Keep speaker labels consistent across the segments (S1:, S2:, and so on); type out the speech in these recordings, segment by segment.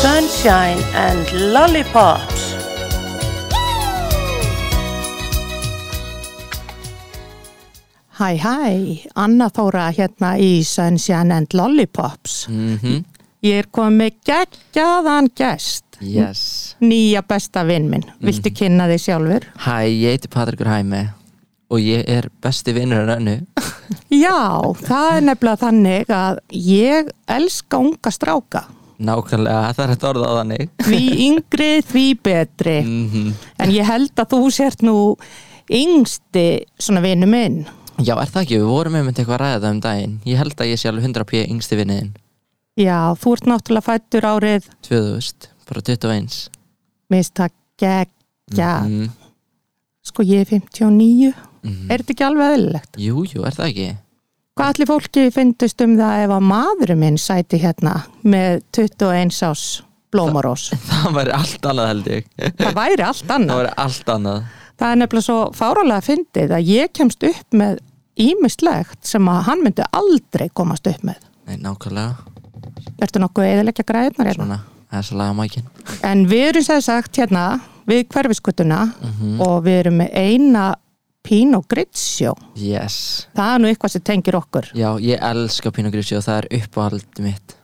S1: sunshine and lollipops.
S2: Hæ, hæ, Anna Þóra hérna í Sunshine and Lollipops.
S3: mm
S2: Ég er komið með geggjaðan gest,
S3: Yes
S2: nýja besta vinn minn. Viltu kynna þig sjálfur?
S3: Hæ, ég heiti Patrikur Hæmi og ég er besti vinnur en önnu
S2: Já, það er nefnilega þannig að ég elska unga stráka.
S3: Nákvæmlega, það er þetta orðað þannig
S2: Því yngri, því betri.
S3: Mm-hmm.
S2: En ég held að þú sért nú yngsti svona vinnu minn.
S3: Já, er það ekki, við vorum einmitt eitthvað að ræða það um daginn Ég held að ég sé alveg 100 pjö yngsti vinniðin
S2: Já, þú ert náttúrulega fættur árið,
S3: 2000, bara 21
S2: minnst það geggjað.
S3: mm.
S2: Sko, ég er 59.
S3: Mhm.
S2: Er þetta ekki alveg eðlilegt?
S3: Jú, jú, er það ekki
S2: Hvað allir fólki fyndist um það ef að maðurinn minn sæti hérna með 21 ás blómarós?
S3: Það væri allt annað held ég
S2: Það væri allt
S3: Það
S2: annað.
S3: væri allt annað
S2: Það er nefnilega svo fáralega fyndið að ég kemst upp með ímislegt sem að hann myndi aldrei komast upp með.
S3: Nei, nákvæmlega,
S2: Ertu nokkuð eðilegja græðnar hérna?
S3: svona, það er svo laga mækin
S2: En við erum sem sagt hérna við hverfiskutuna
S3: Mhm.
S2: og við erum með eina Pino Gritsjó.
S3: Yes
S2: Það er nú eitthvað sem tengir okkur.
S3: Já, ég elska Pínu Grísi og það er uppáhald mitt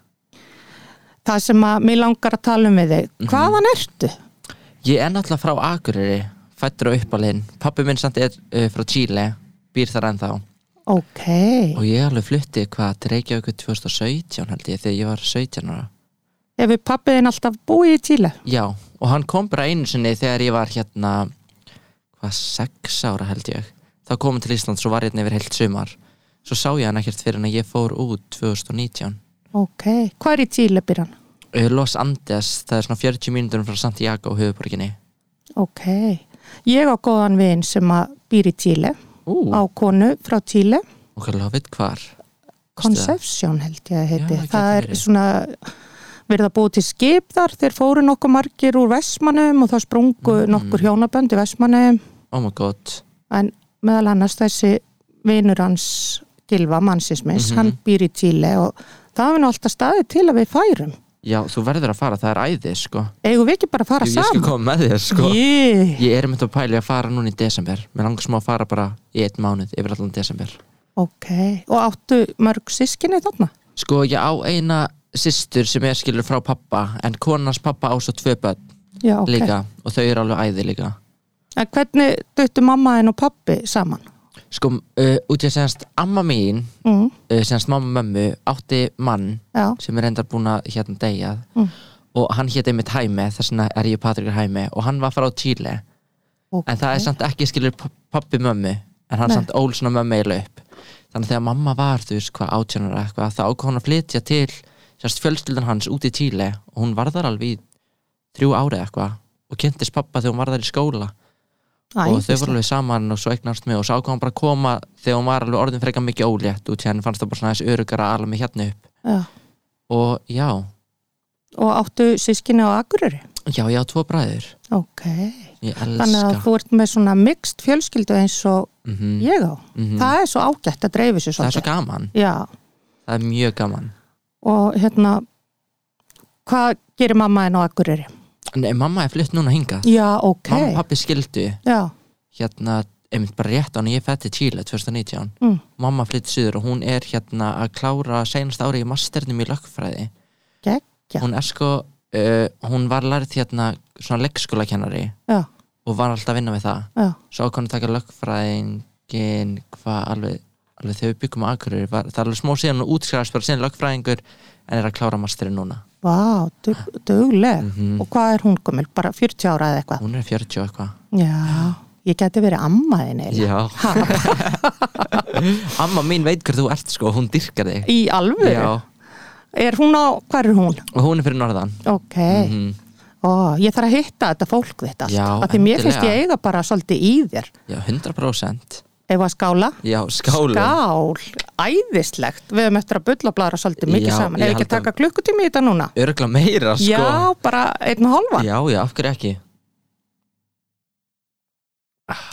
S2: Það sem að mér langar að tala um við þig.
S3: Mhm.
S2: Hvaðan ertu?
S3: Ég er náttúrulega frá Akureyri, fættur á uppalinn. Pappi minn samt er uh, frá Chile, býr þar ennþá.
S2: Ok.
S3: Og ég alveg flutti hvað til Reykjavíkur 2017 held ég, þegar ég var 17 ára.
S2: Hefur pappiðin alltaf búið í Tíle?
S3: Já, og hann kom bara einu sinni þegar ég var hérna, hvað, 6 ára held ég. Þá kom hann til Ísland, svo var ég hérna yfir heilt sumar. Svo sá ég hann ekkert fyrir en að ég fór út 2019.
S2: Ok. Hvað er í Tíle, Byrjan?
S3: Eh, Los Andes, það er svona 40 mínútur frá Santiago, höfuborginni.
S2: Ok. Ég á góðan vin sem að býr í Tíle,
S3: Ú,
S2: á konu frá Tíle,
S3: og hvað lofið hvar?
S2: Conception held ég að heiti.
S3: Já, það
S2: það
S3: gæti
S2: er
S3: verið.
S2: svona verið að búið til skip þar, þeir fóru nokkuð margir úr Vestmanum og þá sprungu
S3: Mhm.
S2: nokkur hjónabönd í Vestmanum,
S3: Oh my god.
S2: en meðal annars þessi vinur hans Gilva Mansinsmins,
S3: Mhm.
S2: hann býr í Tíle og það hefur nú alltaf staðið til að við færum.
S3: Já, þú verður að fara, það er æði, sko.
S2: Eigum við ekki bara að fara
S3: Jú, ég skal
S2: saman?
S3: koma með þér sko
S2: Yeah.
S3: Ég er myndið að pæli að fara núna í desember Mér langar smá að fara bara í einn mánuð yfir allan desember
S2: Ok, og áttu mörg sískinni þarna?
S3: Sko ég á eina systur sem er skilur frá pappa En konans pappa á svo tvö börn
S2: Já, ok.
S3: líka Og þau eru alveg æði líka
S2: En hvernig döttu mamma þinn og pappi saman?
S3: Sko uh, út ég senst amma mín
S2: Mm,
S3: uh, Senst mamma mömmu átti mann
S2: já, Mm.
S3: Sem er endar búin að hérna deyjað Og hann hétt einmitt Hæme Þess vegna er ég Patrikur Hæme Og hann var frá Chile
S2: ok.
S3: En það er samt ekki skilur pa- pabbi mömmu En hann
S2: Nei.
S3: samt ól svona mömmu eiginlega upp Þannig að þegar mamma var, þú veist, hvað átjánara eitthvað Þá ákvað hann að flytja til Sérst fjölskyldan hans út í Tíli Og hún var þar alveg í þrjú ári eitthvað Og kynntist pappa þegar hún var þar í skóla
S2: Æ,
S3: Og þau voru
S2: íslensk.
S3: alveg saman og svo eignast mig Og svo ákvað hann bara að koma þegar hún var alveg orðin frekar mikið ólétt Út í henni fannst það bara svona þessi örugara alveg mig hérna upp
S2: Já.
S3: Og já,
S2: Og áttu sískinni á Akureyri?
S3: já, ég á tvo bræður
S2: Ok.
S3: Ég
S2: Þannig að
S3: elska
S2: þú ert með svona mixt fjölskyldu eins og
S3: mm
S2: ég á.
S3: Mhm.
S2: Það er svo ágætt að dreifu sér
S3: Það er svo
S2: svolítið.
S3: gaman,
S2: Já,
S3: það er mjög gaman
S2: og hérna, hvað gerir mamma þinn á Akureyri?
S3: Nei, mamma er flutt núna hingað
S2: Já, ok.
S3: Mamma og pappi skildu
S2: Já,
S3: hérna, einmitt bara rétt á hann ég fætti Chile 2019.
S2: mm.
S3: Mamma flytti suður og hún er hérna að klára senast ári í masternum í lögfræði.
S2: geggja.
S3: Hún er sko, uh, hún var lærið hérna svona leikskólakennari
S2: Já,
S3: og var alltaf að vinna við það.
S2: já,
S3: Svo ákvæmum taka lögfræðingin hvað alveg, alveg þegar við byggum á Akureyri var, það er alveg smó síðan og útskræðast bara síðan lögfræðingur en er að klára masterinn núna.
S2: vá, dug, dugleg.
S3: Mhm.
S2: Og hvað er hún komil? Bara 40 ára eða eitthvað?
S3: Hún er 40 og eitthvað.
S2: Já, ég geti verið ammaðin eða.
S3: Já. Amma mín veit hver þú ert sko, hún dyrkar þig.
S2: Í alvöru?
S3: Já.
S2: Er hún á, hvað er hún?
S3: og hún er fyrir norðan
S2: Ok, ó, ég þarf að hitta þetta fólk þetta allt.
S3: Mhm. Já,
S2: Af Því mér finnst
S3: endilega.
S2: ég eiga bara svolítið í þér.
S3: já, 100%
S2: Ef að skála?
S3: já, skálu
S2: Skál, æðislegt. Við höfum eftir að bulla og blara svolítið mikið
S3: Já,
S2: saman.
S3: ég
S2: Ef ekki
S3: held
S2: að taka klukkutími í þetta núna?
S3: örgla meira sko
S2: Já, bara einn og halvan.
S3: já, já, af hverju ekki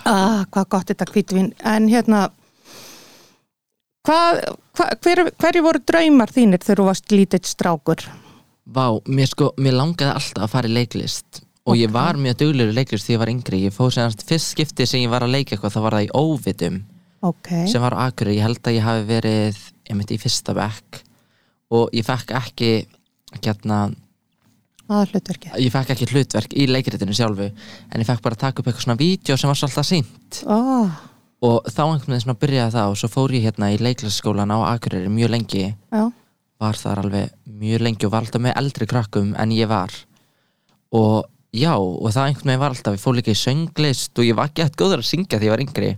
S2: Ah, hvað gott þetta kvítvín. En hérna, hvað, hva, hver, hverju voru draumar þínir þegar þú varst lítill strákur?
S3: Vá, mér sko, mér langaði alltaf að fara í leiklist og ég var mjög duglegur í leiklist því ég var yngri, ég fóð sem fyrst skipti sem ég var að leika eitthvað, þá var það í óvitum
S2: ok,
S3: sem var á Akureyri, ég held að ég hafi verið ég myndi í fyrsta bekk og ég fekk ekki hérna,
S2: aða hlutverki
S3: ég fekk ekki hlutverk í leikritinu sjálfu en ég fekk bara að taka upp eitthvað svona vídeo sem var svolítið að sínt
S2: oh,
S3: og þá einhvern veginn svona byrjaði það og svo fór ég hérna í leiklisskólan á Akureyri mjög lengi,
S2: já, var
S3: var þar alveg mjög lengi og var alltaf með eldri krakkum en ég var og já, og það einhvern veginn var alltaf, ég fór líka í sönglist og ég var ekki eftir góður að syngja því ég var yngri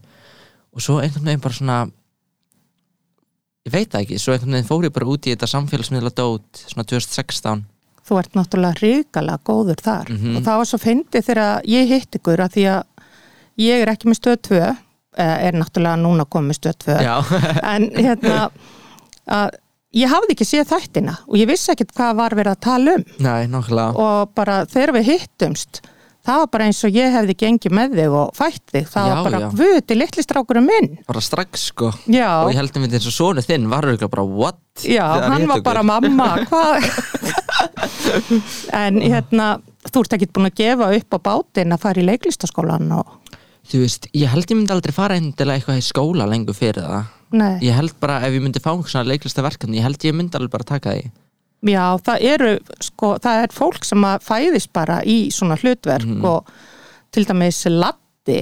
S3: og svo einhvern veginn bara svona ég veit það ekki, svo einhvern veginn fór ég bara út í þetta samfélagsmiðla dót, svona 2016
S2: þú ert náttúrulega ríkala góður þar
S3: Mhm.
S2: og það var svo fyndið þegar ég hitt ykkur að því að ég er ekki með stöð 2 eh, er náttúrulega núna komið stöð 2
S3: já,
S2: en hérna að ég hafði ekki séð þættina og ég vissi ekkert hvað var verið að tala um
S3: næ, nokkulega
S2: og bara þegar við hittumst það var bara eins og ég hefði gengið með þig og fætt þig, það
S3: Já,
S2: var bara
S3: já.
S2: vöti litlistrákurum minn
S3: bara strax sko
S2: já,
S3: og ég heldum við eins og sonu þinn var auðvitað bara what?
S2: já
S3: Þegar
S2: hann
S3: hét
S2: var
S3: okkur.
S2: bara mamma hvað en hérna þú ert ekki búin að gefa upp á bátinn að fara í leiklistaskólan og
S3: þú veist, ég held ég myndi aldrei fara endilega eitthvað í skóla lengur fyrir það
S2: Nei.
S3: ég held bara ef ég myndi fá einhvers svona leiklista verkefni ég held ég myndi alveg bara taka því
S2: já, það eru sko, það er fólk sem að fæðist bara í svona hlutverk
S3: Mhm.
S2: og til dæmis laddi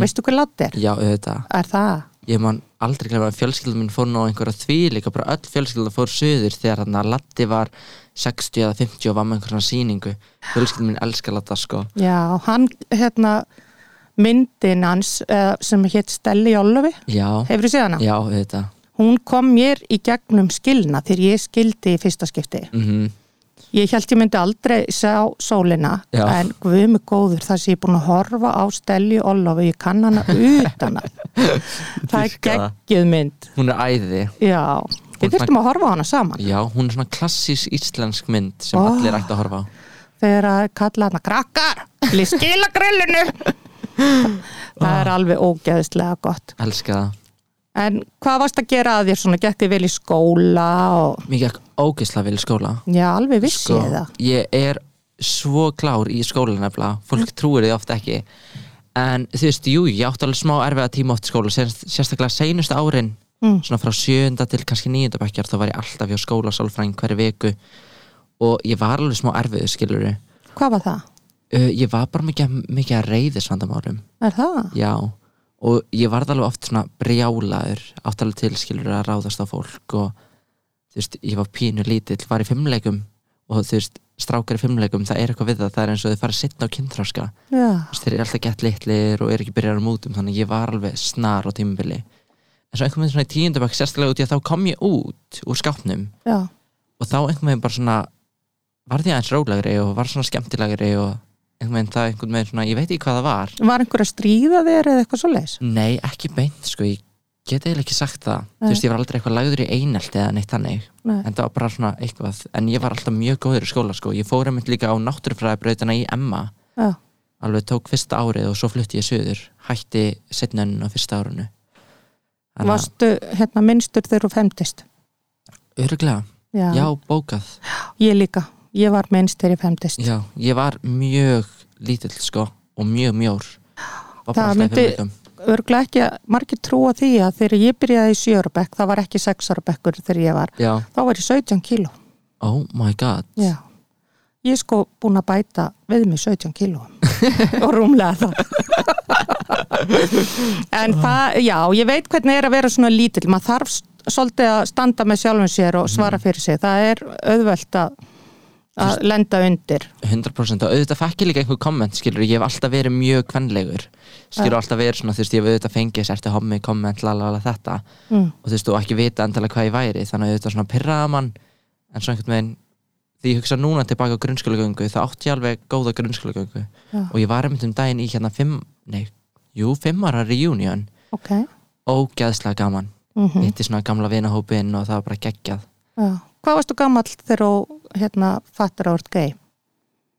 S2: veistu hvað laddi er?
S3: já auðvitað,
S2: Er það?
S3: ég man aldrei glemma að fjölskyldum mín fór nú á einhverja því líka bara öll fjölskyldum fór söður þegar hann að Latti var 60 eða 50 og var með einhverja sýningu fjölskyldum mín elskar Latta sko
S2: Já, hann, hérna, myndin hans uh, sem hétt Stelli Jólofi,
S3: já,
S2: hefur þú séð hana?
S3: já auðvitað
S2: Hún kom mér í gegnum skilna þegar ég skildi í fyrsta skipti.
S3: mm
S2: Ég held ég myndi aldrei sjá sólina,
S3: Já.
S2: en guð mig góður þar sem ég er búin að horfa á Stelli Jólofi, ég kann hana utan að. það er
S3: Dýrka það.
S2: geggjuð mynd,
S3: hún er æði
S2: já.
S3: Hún
S2: Við þurftum að horfa á hana saman.
S3: já, hún er svona klassís íslensk mynd sem
S2: Oh.
S3: allir ætti að horfa á
S2: Þegar að kalla hana krakkar, til skila grillinu. það
S3: Ah.
S2: er alveg ógeðislega gott.
S3: elska það
S2: En hvað varst að gera að þér svona? Gekk þið vel í skóla og...
S3: Mér gekk ógeðslega vel í skóla
S2: Já, alveg vissi
S3: sko,
S2: ég það.
S3: ég er svo klár í skóla nefnilega fólk
S2: Mm.
S3: trúir því ofta ekki en þú veist, jú, ég átti alveg smá erfiða tíma oft í skóla, sérst, sérstaklega seinustu árin
S2: Mm.
S3: svona frá sjönda til kannski nýjunda bekkjar þá var ég alltaf hjá skóla og sálfræðing hverju viku og ég var alveg smá erfiðu skilur uh,
S2: Hvað var það?
S3: ég var bara mikið, mikið að reyðisvandamálum
S2: Er það?
S3: já, og ég varð alveg oft svona brjálaður, átti alveg til skilur að ráðast á fólk og þú veist, ég var pínu lítill, var í fimmleikum og þú veist, strákar í fimmleikum það er eitthvað við það, það er eins og þau fara sittna á kynþráska,
S2: Já.
S3: þú veist, þeir eru alltaf gett litlir og eru ekki byrjar á mútum, þannig að ég var alveg snar á tímubili, en svo einhvern veginn svona í tíundabæk, sérstaklega út í að þá kom ég út úr skápnum
S2: Já.
S3: og þá einhvern veginn bara svona varð ég aðeins rólegri og var svona skemmtilegri og einhvern veginn það einhvern veginn svona, ég veit ekki hvað það var
S2: Var einhver að stríða þér eða eitthvað svo leis?
S3: Nei, ekki beint sko, ég get eiginlega ekki sagt það Þú
S2: Nei.
S3: veist, ég var aldrei eitthvað lagður í einelti eða neitt þannig
S2: Nei.
S3: En það var bara svona eitthvað En ég var alltaf mjög góður í skóla sko Ég fór einmitt líka á náttúrufræðabrautina í Emma
S2: Já.
S3: Alveg tók fyrsta árið og svo flutti ég suður Hætti setnönn á fyrsta árinu Þannig að-
S2: Varstu hérna minnstur þegar þú femtist?
S3: Örugglega,
S2: Já.
S3: já, bókað
S2: Ég líka. Ég var minnst þegar ég femtist.
S3: Já, ég var mjög lítill sko Og mjög mjór Var bara
S2: Það
S3: alltaf í
S2: myndi-
S3: fimleikum.
S2: Örglega ekki að margir trúa því að þegar ég byrjaði í sjörubekk, það var ekki sexarubekkur þegar ég var.
S3: Já,
S2: Þá var ég 17 kíló.
S3: oh my god
S2: Já. Ég er sko búin að bæta við mig 17 kíló og rúmlega það. en það, já, ég veit hvernig er að vera svona lítill. Maður þarf s- svolítið að standa með sjálfum sér og svara fyrir sig. Það er auðvelt að, að lenda undir.
S3: 100% og auðvitað fekk ég líka einhver komment skilur, ég hef alltaf verið mjög kvenlegur skilur alltaf verið svona, þú veist, ég hef auðvitað fengið sér til hommi, komment, lalala þetta
S2: Mm.
S3: og þú veist, og ekki vita endalega hvað ég væri þannig að auðvitað svona pirraða mann en svona einhvern veginn, því ég hugsa núna tilbaka á grunnskólagöngu, þá átti ég alveg góða grunnskólagöngu
S2: Já.
S3: og ég var einmitt um daginn í hérna fimm, nei, jú, fimmara reunion,
S2: Ok.
S3: ógeðslega gaman
S2: Mm
S3: hitti svona gamla vinahópin og það var bara geggjað
S2: já. Hvað varstu gamall þegar þú hérna, fattir að orð gei?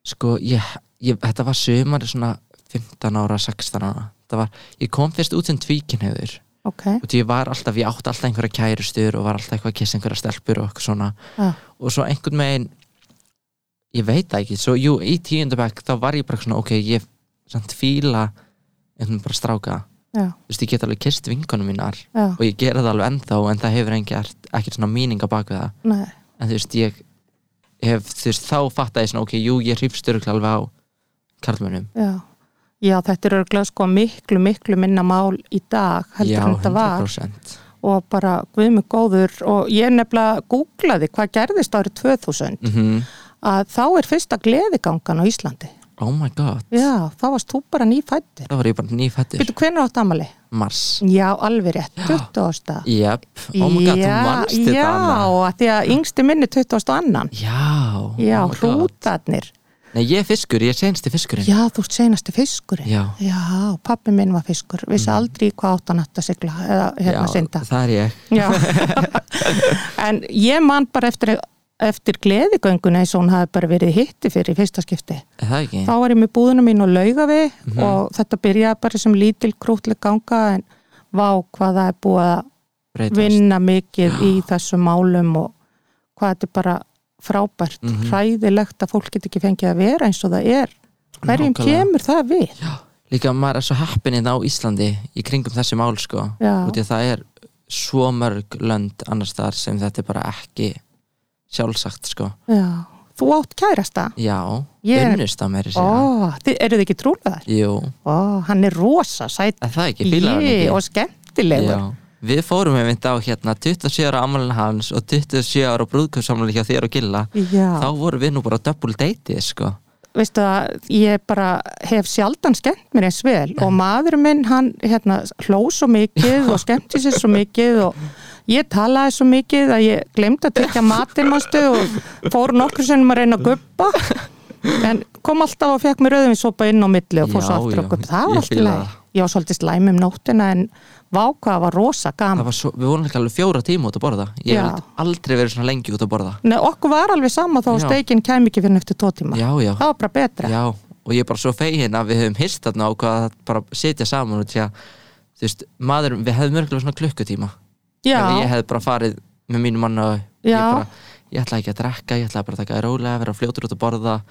S3: sko, ég, ég, þetta var sömari svona 15 ára, 16 ára það var, ég kom fyrst út sem tvíkinhefur
S2: Ok.
S3: og því ég var alltaf, ég átti alltaf einhverja kærustur og var alltaf eitthvað að kissa einhverja stelpur og eitthvað svona
S2: Já.
S3: og svo einhvern veginn ég veit það ekki, svo jú, í tíundabæk þá var ég bara svona, ok, ég samt fíla einhvern bara stráka
S2: já,
S3: þú veist, ég get alveg kist vinkonum mínar
S2: já,
S3: og ég gera það alveg ennþá, en það hefur ekkert, ekkert svona mýning á bak við það
S2: nei,
S3: en þú veist, ég hef, þú veist, þá fatt ég svona, ok, jú, ég hrifst örgulega alveg á karlmönnum
S2: já. Já, þetta er örglega sko miklu, miklu minna mál í dag heldur
S3: já,
S2: en þetta var
S3: 100%
S2: og bara guðmi góður og ég nefnilega googlaði hvað gerðist árið 2000
S3: mm
S2: að þá er fyrsta gleðigangan á Íslandi.
S3: oh my god,
S2: Já, þá varst þú bara nýfættir.
S3: þá var ég bara nýfættur
S2: Býtu, hvenær átt amali?
S3: mars,
S2: Já, alveg rétt, 20. ásta.
S3: jöp, oh my god, þú manst
S2: já,
S3: þetta Anna.
S2: að því að yngsti minni 20. annan.
S3: já,
S2: Já,
S3: oh my god.
S2: hrútarnir.
S3: nei, ég er fiskur, ég er sensti fiskurinn
S2: Já, þú ert seinasti fiskurinn.
S3: Já. Mm.
S2: Já, pappi minn var fiskur. Vissi aldrei í hvað átt hann átt að sigla eða hérna synda.
S3: það er ég
S2: Já. en ég man bara eftir, eftir gleðigönguna eins og hún hafi bara verið hitti fyrir í fyrsta skipti.
S3: er það ekki,
S2: Þá var ég með búðuna mín og lauga við
S3: Mhm.
S2: og þetta byrjaði bara sem lítil krútleg ganga en vá hvað það er búið að
S3: breytast
S2: vinna mikið í þessum málum og hvað þetta er bara frábært,
S3: Mhm.
S2: hræðilegt að fólk get ekki fengið að vera eins og það er. Hverjum
S3: Nákvæmlega.
S2: kemur það við?
S3: já, líka maður er svo happininn á Íslandi í kringum þessi mál sko
S2: Já.
S3: út í að það er svo mörg lönd annars þar sem þetta er bara ekki sjálfsagt sko
S2: Já. Þú átt kærasta?
S3: já,
S2: Ég er-
S3: unnust á mér
S2: Ó, þið, eru þið ekki trúlegar?
S3: jú,
S2: Ó, hann er rosa, sæt
S3: er það ekki fílar hann
S2: Jé, og
S3: ekki
S2: skemmtilegur.
S3: já. við fórum einmitt á hérna 27 ára amalinn hans og 27 ára brúðkjöfsamlega hjá þér og Gilla
S2: Já.
S3: þá vorum við nú bara á double date sko
S2: veistu að ég bara hef sjaldan skemmt mér eins vel og maður minn hann hérna hló svo mikið og skemmti sér svo mikið og ég talaði svo mikið að ég glemd að tekja matinn mástu og fór nokkur sinnum að reyna að guppa en kom alltaf og fekk mér auðvinsopa inn á milli og fór
S3: Já,
S2: svo aftur
S3: já,
S2: að guppa það
S3: ég
S2: var alltaf
S3: fíla
S2: leið
S3: það.
S2: ég var svolítið slæm um nóttina en vákvað var rosa
S3: Það
S2: gaman
S3: var svo, við vorum líka alveg fjóra tíma út að borða ég
S2: Já.
S3: hef aldrei verið svona lengi út að borða
S2: Nei, okkur var alveg sama þá
S3: Já.
S2: steikin kæm ekki fyrir eftir tvo tíma
S3: já, já,
S2: það var bara betra
S3: já og ég er bara svo fegin að við höfum hist þarna og hvað bara sitja saman og tjá þú veist, maður, við hefðum mörgulega svona klukkutíma ef ég hef bara farið með mínu manna og ég
S2: Já.
S3: bara, ég ætla ekki að drekka ég ætla bara að taka það rólega, vera fljótur út að borða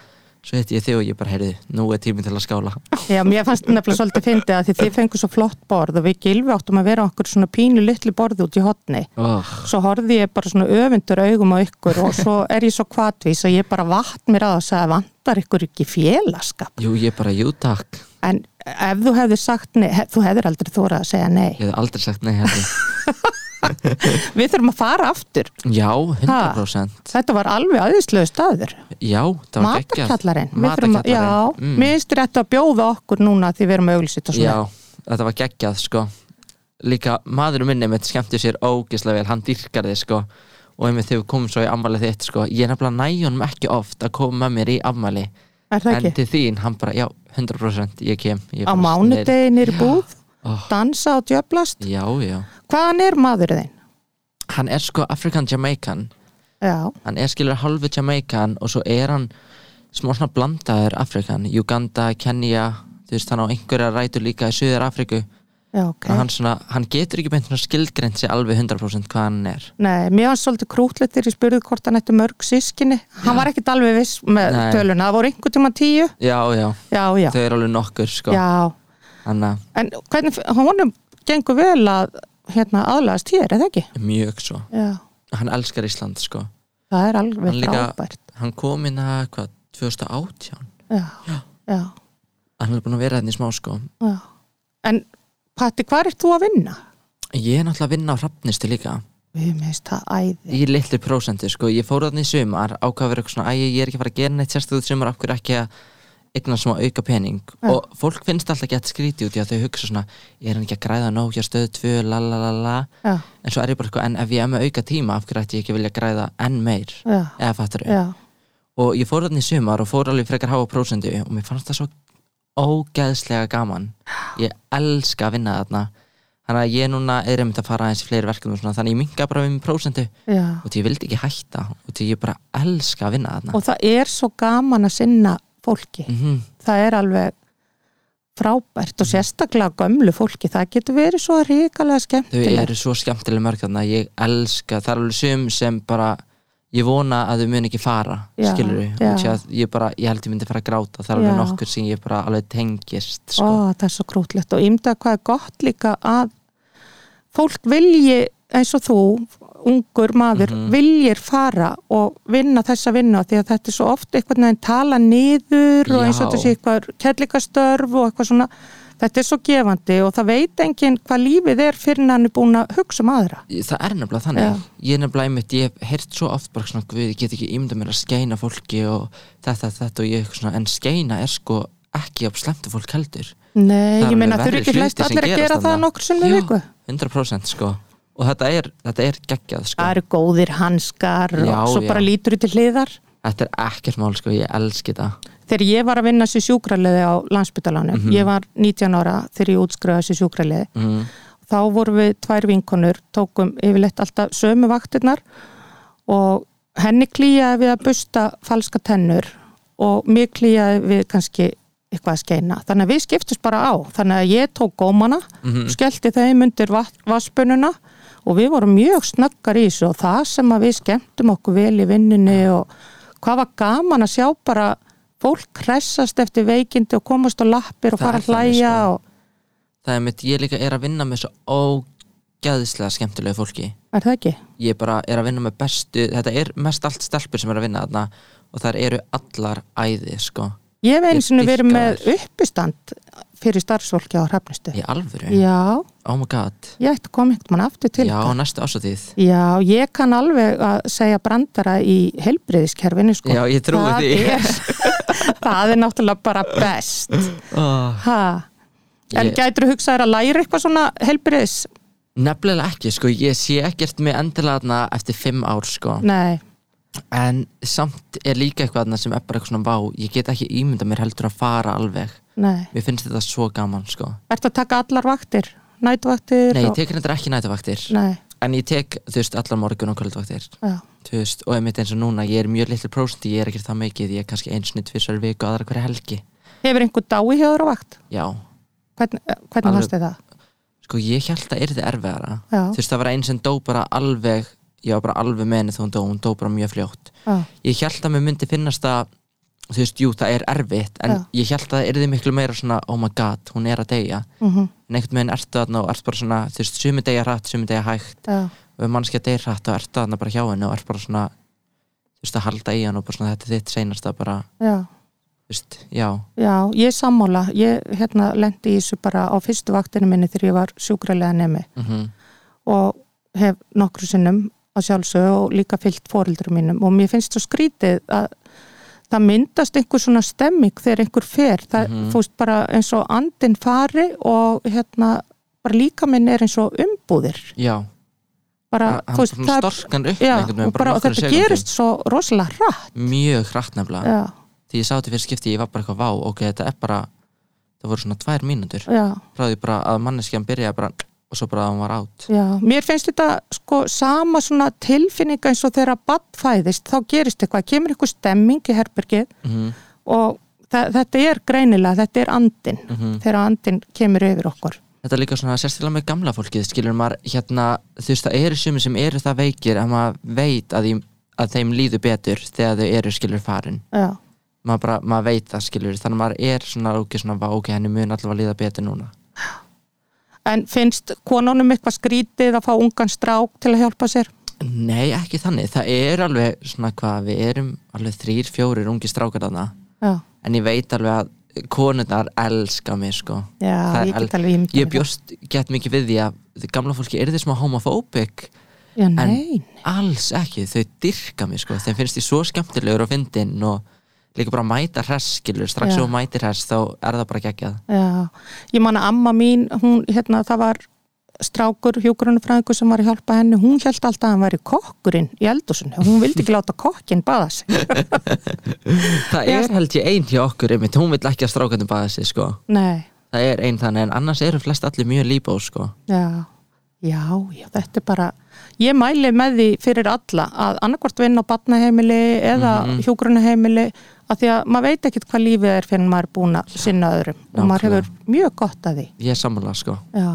S3: svo hitti ég þig og ég bara, heyrðu, nú er tíminn til að skála
S2: Já, mér fannst nefnilega svolítið fyndið að því þið fengu svo flott borð og við gilfi áttum að vera á okkur svona pínu litlu borð út í hotni.
S3: oh,
S2: Svo horfði ég bara svona öfundur augum á ykkur og svo er ég svo kvatvís og ég bara vatt mér að og sagði vantar ykkur ekki félagskap.
S3: Jú, ég bara, jú takk
S2: En ef þú hefðir sagt nei, he- þú hefðir aldrei þórað að segja nei.
S3: ég hef aldrei sagt nei hérna
S2: Við þurfum að fara aftur.
S3: Já, 100%
S2: Þetta var alveg aðeinslegu staður.
S3: Já, það var geggjað
S2: Matarkjallarinn. Við þurfum að- Já,
S3: Matarkjallarinn
S2: mm. minnst rétt að bjóða okkur núna því við erum auglisitt og svona.
S3: Já, þetta var geggjað sko Líka maðurinn minni mitt skemmti sér ógislega vel, hann dýrkar þig sko og einmitt þegar við komum svo í afmælið þitt sko ég er nefnilega næjónum ekki oft að koma með mér í afmæli
S2: er það
S3: en
S2: ekki?
S3: til þín, hann bara, já, 100% ég kem ég
S2: Á
S3: bara
S2: mánudegi nýri búð,
S3: Oh.
S2: dansa og djöblast.
S3: snill- Já, já
S2: Hvaðan er maður þinn?
S3: Hann er sko African Jamaican
S2: Já,
S3: hann er skilur halvu Jamaican og svo er hann smá svona blandaður Afrikan, Uganda, Kenya þú veist, hann á einhverja rætur líka í Suður Afriku
S2: já, ok.
S3: og hann, svona, hann getur ekki beint svona skilgreint sig alveg 100% hvað hann er
S2: Nei, mér var svolítið krútlegt þegar ég spurði hvort hann ætti mörg sískinni. Hann var ekkit alveg viss með
S3: Nei.
S2: töluna. Það voru einhver tíma tíu.
S3: Já, já,
S2: Já, já.
S3: þau eru alveg nokkur sko.
S2: Já,
S3: Þannig
S2: en hvernig, honum gengur vel að hérna, aðlagast hér, eða ekki?
S3: að mjög svo
S2: Já,
S3: Hann elskar Ísland sko.
S2: það er
S3: Hann
S2: alveg
S3: líka-
S2: frábært.
S3: Hann kom inn að hvað, 2018
S2: Já, já,
S3: Hann er búin að vera þannig smá sko.
S2: já. En Patti, hvað ert þú að vinna?
S3: Ég er náttúrulega að vinna á rafnistu líka
S2: Við minnst það æði.
S3: Í litlu prósentu sko. Ég fór þannig í sumar ákvað að vera eitthvað svona Æ, ég er ekki að fara að gera neitt sérstöðu sumar Af hverju ekki að eigna smá auka pening Og fólk finnst alltaf gett skríti út í að þau hugsa svona Ég er hann ekki að græða nóg, ég stöðu tvö, la la la la
S2: Já,
S3: En svo er ég bara eitthvað, en ef ég er með auka tíma Af hverju ætti ég ekki að vilja græða enn meir
S2: já,
S3: Eða fattur
S2: já,
S3: og ég fór þarna í sumar og fór alveg frekar háa prósendu og mér fannst það svo ógeðslega gaman ég elska að vinna þarna þannig að ég núna er einmitt að fara aðeins í fleiri verkefnum og svona, þannig að ég minga bara við mér prósendu
S2: já.
S3: og því ég vildi ekki hætta og því ég bara elska að vinna þarna
S2: Og það er svo gaman að sinna fólki.
S3: mm
S2: það er alveg frábært og sérstaklega gömlu fólki, það getur verið svo ríkalega
S3: þau
S2: skemmtilegt
S3: eru svo skemmtileg mörg þarna ég elska, það er alveg sum sem bara ég vona að þau mun ekki fara
S2: Já,
S3: skilur
S2: já.
S3: við, ég, bara, ég held ég myndi fara að gráta það er alveg
S2: Já.
S3: nokkur sem ég bara alveg tengist sko.
S2: Ó, það er svo grútlegt og ymda hvað er gott líka að fólk vilji eins og þú, ungur maður
S3: Mhm.
S2: viljir fara og vinna þessa vinna því að þetta er svo oft eitthvað neginn tala niður og eins og
S3: Já.
S2: þetta sé eitthvað kellikastörf og eitthvað svona þetta er svo gefandi og það veit enginn hvað lífið er fyrir en hann er búin að hugsa um aðra
S3: það er nefnilega þannig ég er nefnilega einmitt, ég hef heyrt svo oft bara svona, guð, ég get ekki ímynda mér að skeina fólki og þetta, þetta og ég eitthvað svona en skeina er sko ekki af slemtu fólk heldur
S2: Nei,
S3: Það er
S2: ég meina þau
S3: alveg
S2: eru
S3: verri
S2: ekki flest
S3: hlutir sem
S2: allir að
S3: gerast
S2: gera það
S3: þarna.
S2: nokkur sem við
S3: Já,
S2: viku
S3: 100% sko og þetta er, þetta er geggjað sko
S2: Það eru góðir hanskar
S3: Já,
S2: og svo
S3: já.
S2: bara lítur til hliðar
S3: þetta er ekkert mál sko, ég elski það
S2: þegar ég var að vinna sér sjúkraliði á landsbytalanum, ég var 19 ára þegar ég útskrifaði sér sjúkraliði
S3: mm.
S2: þá vorum við tvær vinkonur tókum yfirleitt alltaf sömu vaktirnar og henni klíjaði við að busta falska tennur og mér klíjaði við kannski eitthvað að skeina, þannig að við skiptist bara á þannig að ég tók gómana skellti þeim undir vaspununa og við vorum mjög snöggar í þessu og það sem að við skemmtum okkur vel í vinninni og hvað var gaman að sjá bara fólk kressast eftir veikindi og komast á lappir og
S3: Það
S2: fara
S3: er
S2: að
S3: þannig,
S2: hlæja
S3: sko.
S2: og
S3: það er mitt, ég líka er að vinna með svo ógeðslega skemmtilegu fólki
S2: er það ekki?
S3: ég bara er að vinna með bestu þetta er mest allt stelpur sem er að vinna þarna og þær eru allar æði sko,
S2: Ég hef einu
S3: Ég
S2: sinni verið
S3: dýrka
S2: með
S3: þær.
S2: uppistand fyrir starfsfólki á hrafnistu.
S3: í alvöru
S2: Já,
S3: oh my god,
S2: ég ætti að koma einhvern mann aftur til
S3: já,
S2: það.
S3: næstu ásatíð
S2: Já, ég kann alveg að segja brandara í helbriðiskerfinu sko.
S3: já, ég trúi
S2: það
S3: því
S2: Er, það er náttúrulega bara best.
S3: oh,
S2: Ha. En
S3: Ég-
S2: gætur þú hugsaður að læra eitthvað svona helbriðis?
S3: nefnilega ekki, sko, ég sé ekkert með endilega þarna eftir fimm ár, sko
S2: Nei,
S3: en samt er líka eitthvað þarna sem er bara eitthvað svona vá, ég get ekki ímynda mér heldur að fara alveg
S2: nei.
S3: mér finnst þetta svo gaman, sko
S2: Ertu að taka allar vaktir? Nætvaktir?
S3: nei, ég
S2: og...
S3: tek þetta ekki nætuvaktir
S2: Nei,
S3: en ég tek, þú veist, allar morgun og kvöldvaktir
S2: já.
S3: þú veist, og einmitt eins og núna, ég er mjög litlu prósenti, ég er ekkert það mikið, ég er kannski eins og tvisar viku aðra hverja helgi,
S2: Hefur einhver dái hjá þér á vakt?
S3: já
S2: Hvern, eh,
S3: Alveg-
S2: hvernig fannst þið það?
S3: sko ég held að yrði erfiðara
S2: Já.
S3: þú veist, það var einn sem dó bara alveg ég var bara alveg með henni þegar hún dó, hún dó bara mjög fljótt
S2: Já.
S3: ég held að mér myndi finnast að þú veist, jú, það er erfitt en
S2: Já.
S3: ég held að það yrði miklu meira svona oh my god, hún er að deyja
S2: Mm
S3: en einhvern veginn ertu þarna og ert bara svona þú veist, sumi deyja hratt, sumi deyja hægt
S2: já.
S3: og ef mannskja deyr hratt og ertu þarna bara hjá henni og ert bara svona þú veist, að halda í hann og bara svona þetta er þitt seinasta bara
S2: Já,
S3: þú veist, já,
S2: já, ég er sammála. Ég hérna lendi í þessu bara á fyrstu vaktinu minni þegar ég var sjúkralega nemi
S3: mhm
S2: og hef nokkru sinnum að sjálfsögðu og líka fyllt fóreldrum mínum og mér finnst svo skrítið að það myndast einhver svona stemming þegar einhver fer. Það,
S3: Mhm.
S2: Þú veist bara eins og andin fari og hérna bara líka minn er eins og umbúðir.
S3: já,
S2: Bara,
S3: hann
S2: þú veist,
S3: svona
S2: það,
S3: storkan upp
S2: já,
S3: einhvern veginn,
S2: og bara,
S3: á
S2: og
S3: nokkrum
S2: þetta
S3: sekúndum.
S2: gerist svo rosalega hratt.
S3: mjög hratt nefnilega
S2: Já,
S3: því ég sá þetta fyrir skipti, ég var bara eitthvað vá ok, þetta er bara, það voru svona tvær mínútur
S2: já.
S3: frá því bara að manneskjan byrjaði bara og svo bara að hún var átt
S2: Já, mér finnst þetta sko sama svona tilfinninga eins og þegar að badd fæðist, þá gerist eitthvað, kemur eitthvað stemming í herbergið
S3: mm
S2: og þa- þetta er greinilega, þetta er andin,
S3: Mhm.
S2: þegar andin kemur yfir okkur.
S3: þetta er líka svona sérstilega með gamla fólkið skilur maður hérna, þú veist það eru sumir sem eru það veikir en maður veit að, því, að þeim líður betur þegar þau eru skilur farin
S2: Já,
S3: maður bara, maður veit það skilur þannig að maður er svona ok, svona vá ok, henni mun allavega líða betur núna
S2: en finnst konunum eitthvað skrítið að fá ungan strák til að hjálpa sér?
S3: nei, ekki þannig, það er alveg svona hvað, við erum alveg þrýr, fjórir ungi strákar þarna
S2: Já,
S3: en ég veit alveg að konurnar elska mig sko Það
S2: já
S3: er
S2: ég
S3: al-
S2: get alveg ímyndað.
S3: ég
S2: mér
S3: bjóst gett mikið við því að þið gamla fólki er þið smá homofóbik
S2: það. Já, nei,
S3: alls ekki, þau dyrka mig sko þeim finnst ég svo skemmtilegur og fyndinn og líka bara mæta hress skilur strax
S2: Já.
S3: sem þú mætir hress þá er það bara geggjað
S2: já. Ég man að amma mín, hún, hérna, það var strákur, hjúgrunufræðingur sem var að hjálpa henni, hún held alltaf að hann væri kokkurinn í eldúsinu, hún vildi ekki láta kokkinn baða sig.
S3: það
S2: Já.
S3: er held ég ein hjá okkur einmitt, hún vill ekki að strákandum baða sig sko
S2: Nei,
S3: það er ein þannig en annars eru flest allir mjög líbó sko
S2: já, já, já, þetta er bara, ég mæli með því fyrir alla að annarkvort vinna á batnaheimili eða mm að því að maður veit ekkit hvað lífið er fyrir en maður er búin að sinna öðrum og maður
S3: nákvæmlega.
S2: hefur mjög gott að því.
S3: ég er sammála sko
S2: Já,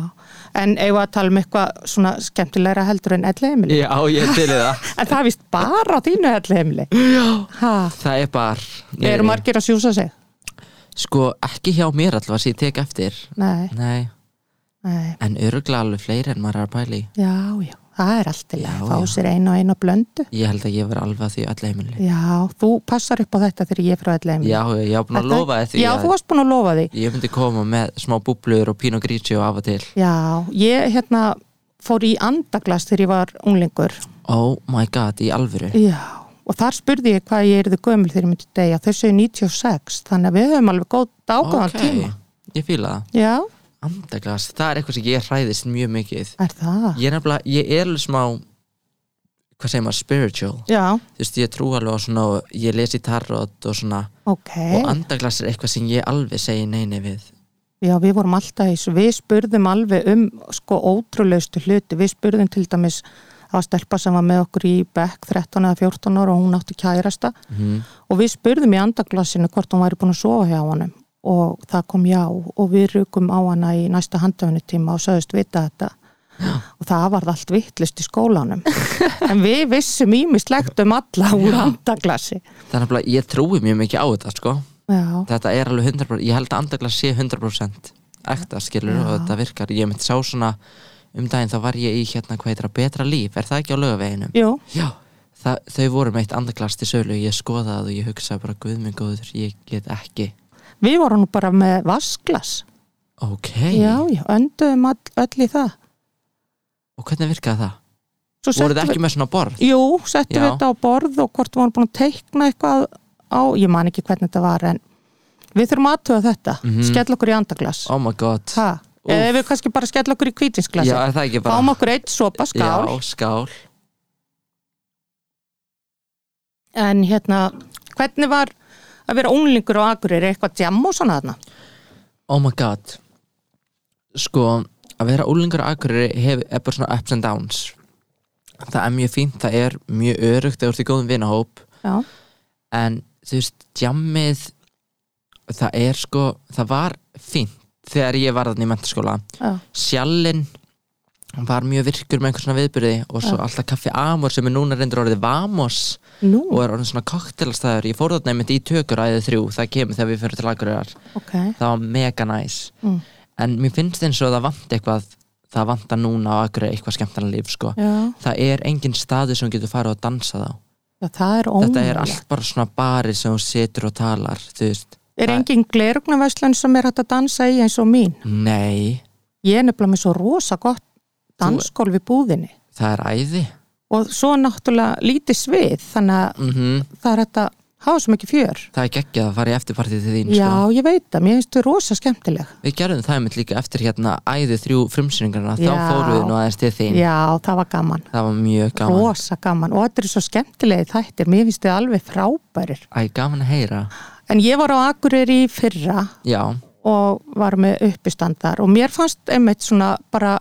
S2: en eigum við að tala um eitthvað svona skemmtilegra heldur en elliheimili
S3: Já, ég til í það
S2: en það er vist bara á þínu elliheimili ha,
S3: Það er bar
S2: eru margir að sjúsa sig
S3: Sko, ekki hjá mér allavega sem ég tek eftir
S2: nei,
S3: Nei,
S2: nei,
S3: en öruglega alveg fleiri en maður er að pæli
S2: já, já það er allt til
S3: Já,
S2: að fá
S3: já.
S2: sér einu og einu blöndu
S3: Ég held að ég verði alveg að því öll heimili
S2: já, þú passar upp á þetta þegar ég er frá elliheimili
S3: Já, ég hef búin að lofa þér því
S2: Mm. já,
S3: að
S2: þú varst búin að lofa því
S3: Ég myndi koma með smá búblur og pín og grísi og af og til
S2: já, ég hérna fór í andaglas þegar ég var unglingur
S3: Oh my god, í alvöru
S2: Já, og þar spurði ég hvað ég erði gömul þegar ég myndi degja. Þau segju 96, þannig að við höfum alveg góð dágóðan tíma.
S3: Ég fíla það
S2: Já,
S3: Andaglas, það er eitthvað sem ég hræðist mjög mikið
S2: er það?
S3: Ég er nefnilega, ég er alveg smá Hvað segir maður, spiritual
S2: Já,
S3: Þú veist, ég trú alveg á svona og Ég lesi tarot og svona
S2: ok.
S3: Og andaglas er eitthvað sem ég alveg segi neini við
S2: Já, við vorum alltaf í þessu. Við spurðum alveg um sko ótrúleustu hluti. Við spurðum til dæmis það var stelpa sem var með okkur í Beck 13 eða 14 ára og hún átti kærasta
S3: mm.
S2: og við spurðum í andaglasinu hvort hún væri búin að sofa hjá honum og það kom já og við rukum á hana í næsta handöfunutíma og sögðust vita þetta og það varð allt vittlust í skólanum en við vissum ímislegt um alla úr andaglasi
S3: Það er nefnilega, ég trúi mjög mikið á þetta, sko
S2: já,
S3: Þetta er alveg 100%, ég held að andaglas sé 100% Ekta, skilur, og þetta virkar Ég myndi sá svona um daginn Þá var ég í hérna, hvað heitir að betra líf Er það ekki á lögaveginum?
S2: jú,
S3: Já, það, þau voru meitt andaglas til sölu Ég skoðaði það og ég hugsaði bara Guð minn góður, ég get ekki
S2: við vorum nú bara með vasklas
S3: Ok,
S2: já, já, önduðum all, öll í það
S3: og hvernig virkaði það?
S2: Svo
S3: Voru
S2: settum
S3: þið ekki með svona borð?
S2: við, jú, settum
S3: Já.
S2: við þetta á borð og hvort við vorum búin að teikna eitthvað á, ég man ekki hvernig þetta var en við þurfum aðtöða þetta
S3: Mhm.
S2: skell okkur í andaglas
S3: Oh my god
S2: Ha,
S3: Úff.
S2: eða við kannski bara skella okkur í kvítinsglasi
S3: Já, er það ekki bara
S2: Fáum okkur eitt sopa skál
S3: Já, skál
S2: En hérna, hvernig var að vera unglingur og agurir eitthvað djam og svona þarna?
S3: Oh my god Sko, að vera úlingur og akkurir hef, er bara svona ups and downs Það er mjög fínt, það er mjög örugt Það er í góðum vinahóp
S2: Já,
S3: En þú veist, jammið Það er sko, það var fínt Þegar ég var þannig í mentaskóla
S2: já,
S3: Sjallinn var mjög virkur með einhver svona viðbyrði og svo alltaf kaffi Amor sem er núna reyndur orðið Vamos
S2: nú,
S3: og er orðin svona koktelastæður ég fór þarna einmitt í tökur æðið þrjú það kemur þegar við fyrir til Akureyrar
S2: ok
S3: það var mega næs
S2: Mm.
S3: en mér finnst eins og það vant eitthvað það vantar núna á Akureyri eitthvað skemmtana líf sko.
S2: Já,
S3: það er engin staður sem þú getur farið og dansað á
S2: já það er
S3: þetta er
S2: ómjöld
S3: allt bara svona bari sem þú situr og talar þú veist,
S2: Er engin glerugnaverslun sem er hægt að dansa í eins og mín?
S3: nei,
S2: Ég er nefnilega með svo rosa gott dansgólf í búðinni
S3: það er æði
S2: og svo náttúrulega lítið svið þannig að
S3: mm
S2: það er hægt að hafa svo mikið fjör
S3: það er geggjað að fara í eftirpartið til þín
S2: Já,
S3: sko.
S2: ég veit það, mér finnst þau rosa skemmtileg
S3: við gerðum það einmitt líka eftir hérna æðið þrjú frumsýningarna þá
S2: Já.
S3: fórum við nú aðeins til þín
S2: Já, það var gaman
S3: það var mjög gaman
S2: rosa gaman og þetta er svo skemmtilegi þættir, mér finnst þið alveg frábærir
S3: Æ, gaman að heyra
S2: en ég var á Akureyri í fyrra
S3: já,
S2: og var með uppistandar og mér fannst einmitt svona bara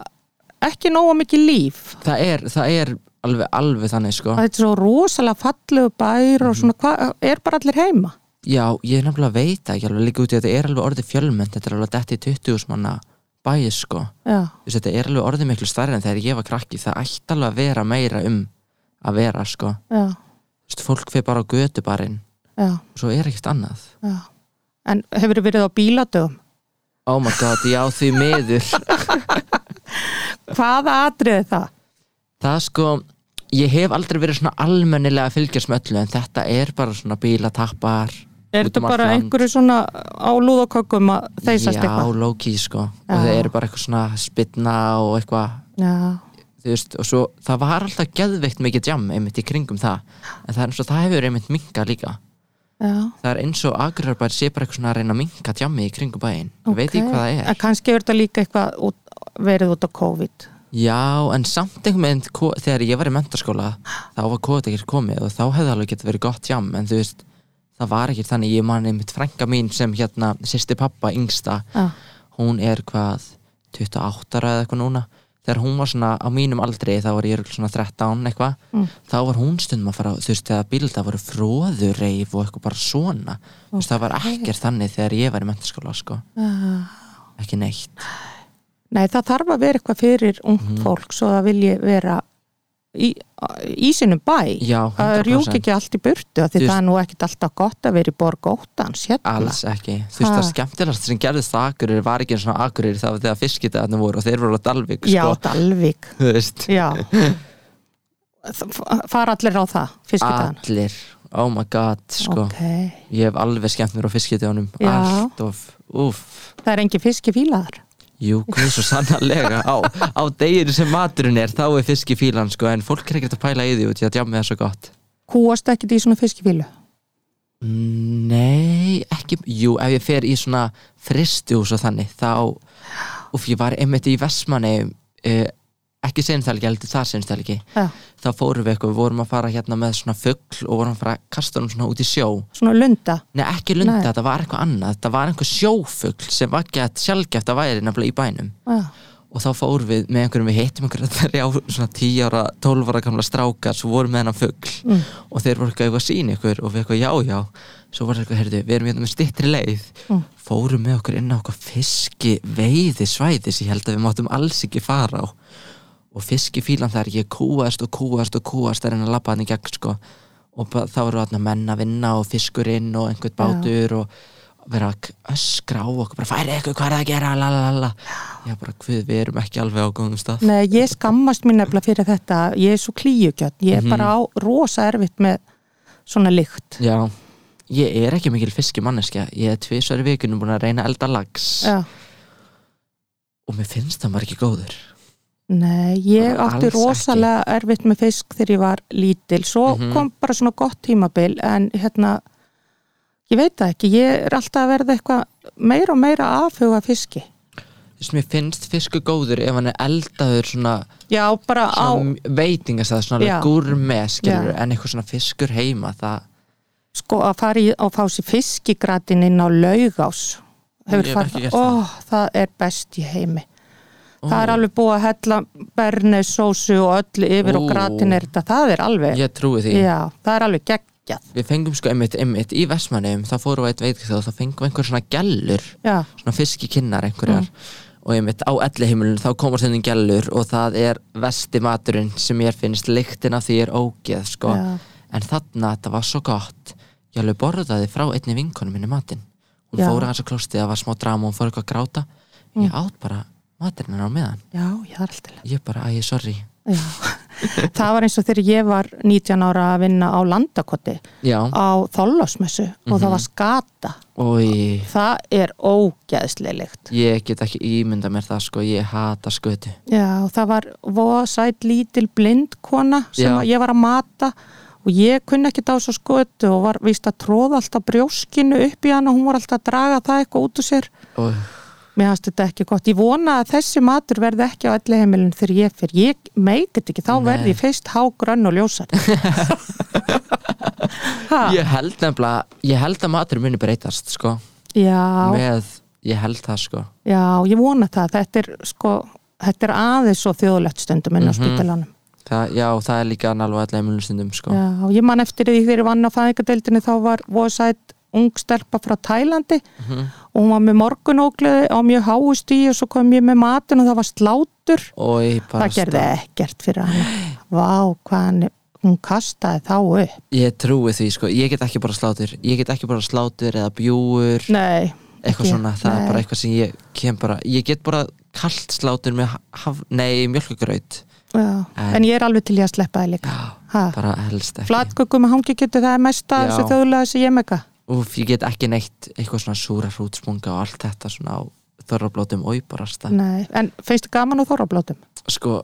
S2: ekki nóga mikið líf
S3: það er, það er alveg, alveg þannig sko.
S2: að þetta er svo rosalega fallegu bær og svona, hvað, er bara allir heima
S3: Já, ég nefnilega veit það ekki alveg líka út í að þetta er alveg orðið fjölmönd þetta er alveg detti 20 manna bæði sko
S2: já,
S3: Þú veist, þetta er alveg orðið miklu stærri en þegar ég var krakki það ætti alveg að vera meira um að vera sko
S2: já,
S3: Þú veist, fólk fyrir bara á götubarinn
S2: já,
S3: og svo er ekkert annað
S2: já en hefur þið verið á bíladögum
S3: Oh my god, já því miður
S2: hvaða atriði það?
S3: Það sko, ég hef aldrei verið svona almennilega að fylgjast með öllu en þetta er bara svona bílatappar
S2: er
S3: út
S2: þetta
S3: um allt
S2: bara
S3: land.
S2: einhverju svona á lúðakökum að þeysast
S3: Já,
S2: eitthvað?
S3: low-key sko
S2: Já.
S3: og það eru bara eitthvað svona spytna og eitthvað
S2: já,
S3: þú veist, og svo það var alltaf geðveikt mikið jam einmitt í kringum það en það er eins og það hefur einmitt minga líka
S2: já
S3: það er eins og agrarbær sé bara eitthvað svona að reyna að minga jammi í kringum bæinn, okay. veit ég hvað það
S2: En
S3: er
S2: kannski er þetta líka eitthvað út, verið út á COVID.
S3: já, en samt einhvern veginn ko- þegar ég var í mentaskóla þá var kóðið ekkert komið og þá hefði alveg getið verið gott jam en þú veist, það var ekkert þannig ég man einmitt frænka mín sem hérna sýsti pappa yngsta,
S2: Já,
S3: hún er hvað 28 ára eða eitthvað núna þegar hún var svona á mínum aldri þá var ég örugglega svona 13 eitthvað
S2: mm.
S3: þá var hún stundum að fara þú veist þegar bílda voru fróðureif og eitthvað bara svona þú veist það var ekkert þannig þegar ég var í mentaskóla sko,
S2: já,
S3: ekki neitt
S2: Nei, það þarf að vera eitthvað fyrir ung
S3: Mhm.
S2: fólk svo það vilji vera í, í sinum bæ
S3: Já,
S2: það
S3: 100%.
S2: rjúk ekki allt í burtu af því
S3: Þú veist-
S2: það er nú ekkit alltaf gott að vera í borg óttans hérna
S3: Alls ekki, þú veist
S2: Ha.
S3: það skemmtilegast sem gerðist það akkurir var ekki eins og akkurir það var þegar fiskitaðarnir voru og þeir voru á Dalvik
S2: Já,
S3: sko,
S2: Dalvik
S3: þú veist
S2: Já Það- f- fara allir á það, fiskitaðan
S3: allir, oh my god sko.
S2: Ok,
S3: ég hef alveg skemmt mér á fiskitaðanum
S2: Já.
S3: allt of, uff
S2: það er engin fiskifílaðar
S3: Jú, komið svo sannarlega á, á deginu sem maturinn er, þá er fiskifílan sko, en fólk er ekkert að pæla í því út í að djámið það svo gott
S2: Kúast ekkit í svona fiskifílu
S3: Nei, ekki, jú, ef ég fer í svona fristjús og þannig, þá uff, ég var einmitt í Vestmanni eh, ekki seinstælgi, heldur það seinstælgi
S2: Já.
S3: þá fórum við eitthvað, við vorum að fara hérna með svona fugl og vorum að fara að kasta honum svona út í sjó
S2: Svona lunda
S3: Nei, ekki lunda,
S2: Nei.
S3: þetta var eitthvað annað þetta var einhver sjófugl sem var gett sjálfgeft að væri nefnilega í bænum
S2: Já,
S3: og þá fór við með einhverjum við hittum einhverjum þrjá svona 10 ára, 12 ára gamla strákar svo vorum við hennan fugl
S2: Mm.
S3: og þeir voru eitthvað að sína ykkur og við eitthvað já já svo voru eitthvað, heyrðu, við erum hérna með stittri leið
S2: Mm.
S3: fórum með okkur inn á okkur fiski veiði svæði sem ég held að við máttum alls ekki fara á og fiskifílan þar ég kúast og kúast og kúast þar en að labba hann í gegn sko og ba- þá voru þarna menn að vinna og fiskurinn og einhvern bátur og vera að k- öskra á okkur bara færi eitthvað hvað er það að gera la, la, la, la. já bara hvað við erum ekki alveg á góðum stað
S2: Nei, ég skammast mín nefnilega fyrir þetta ég er svo klíugjörn, ég er
S3: Mhm.
S2: bara á rosa erfitt með svona lykt
S3: já ég er ekki mikil fiskimanneska ég er tvisar í vikunum búin að reyna að elda lags
S2: Já,
S3: og mér finnst það maður ekki góður
S2: nei, ég
S3: Bara
S2: átti
S3: alls ekki.
S2: rosalega erfitt með fisk þegar ég var lítil svo
S3: Mhm.
S2: kom bara svona gott tímabil en hérna ég veit það ekki, ég er alltaf að verða eitthvað meira og meira aðfuga fiski
S3: þú veist mér finnst fiskur góður ef hann er eldaður svona
S2: Já, bara á
S3: svona veitingastæð, svona
S2: Já.
S3: alveg gourmet skilur,
S2: Já.
S3: en eitthvað svona fiskur heima það,
S2: sko að fara í og fá sér fiskigratin inn á laugás
S3: Ég hef
S2: farið
S3: ekki gert
S2: Ó,
S3: það.
S2: það er best í heimi
S3: Ó.
S2: það er alveg búið að hella bernes, sósu og öllu yfir og
S3: Ó.
S2: gratin er þetta, það er alveg
S3: ég trúi því
S2: já, það er alveg geggjað
S3: við fengum sko einmitt, einmitt í Vestmannum þá fórum við eitt veitikastöð og þá fengum við einhver svona gellur
S2: já,
S3: svona fiskikinnar einhverjar
S2: Mm.
S3: og einmitt á elliheimilinu þá komast henni gellur og það er vesti maturinn sem ég finnst lyktin af því er ógeð sko.
S2: Já.
S3: en þarna þetta var svo gott ég alveg borðaði frá einni vinkonu minni matinn hún
S2: Já. Mm.
S3: fór aðeins að klósti, það var smá drama og hún fór eitthvað að gráta ég átt bara maturinn hennar á meðan
S2: já, já, það er alltaf
S3: ég bara, æ, sorry
S2: það var eins og þegar ég var 19 ára að vinna á landakoti
S3: já,
S2: á þollásmessu og
S3: Mhm.
S2: það var skata
S3: oi
S2: það er ógeðsleilegt
S3: ég get ekki ímynda mér það sko ég hata skötu
S2: Já, og það var vosætt lítil blindkona sem
S3: Já.
S2: að ég var að mata og ég kunni ekki á svo skötu og var víst að tróða alltaf brjóskinu upp í hann og hún var alltaf að draga það eitthvað út úr sér.
S3: og
S2: Mér hafst þetta ekki gott. Ég vona að þessi matur verði ekki á elli heimilin þegar ég fyrir. Ég meikit ekki, þá verði ég fyrst hágrönn og ljósar. ha,
S3: Ég held nefnilega, ég held að matur muni breytast sko
S2: Já,
S3: með, ég held það sko
S2: já, ég vona það. Þetta er sko, þetta er aðeins svo þjóðlegt stundum inn á spítalanum.
S3: það, já, það er líka alveg allavega mjög stundum sko
S2: Já, og ég man eftir því þegar ég vann á fæðingadeildinni þá var vosætt ung stelpa frá Tælandi
S3: Mhm.
S2: og hún var með morgunógleði á mjög háu stíu og svo kom ég með matin og það var slátur
S3: og ég bara
S2: það gerði ekkert fyrir hann Vá, hvað hann, hún kastaði þá upp
S3: ég trúi því sko, ég get ekki bara slátur ég get ekki bara slátur eða bjúur
S2: Nei,
S3: eitthvað
S2: ekki.
S3: svona, það
S2: Nei.
S3: er bara eitthvað sem ég kem bara, ég get bara kalt slátur með haf, nei, mjölkugraut
S2: já,
S3: En-
S2: en ég er alveg til ég að sleppa það líka Ha,
S3: bara helst ekki
S2: Flatkökum með hangi getur það er mesta
S3: Já.
S2: þessu þjóðlega þessi ég mega
S3: Úf, ég get ekki neitt eitthvað svona súra hrútspunga og allt þetta svona á þorrablótum og barasta
S2: Nei, en finnst þið gaman á þorrablótum?
S3: sko,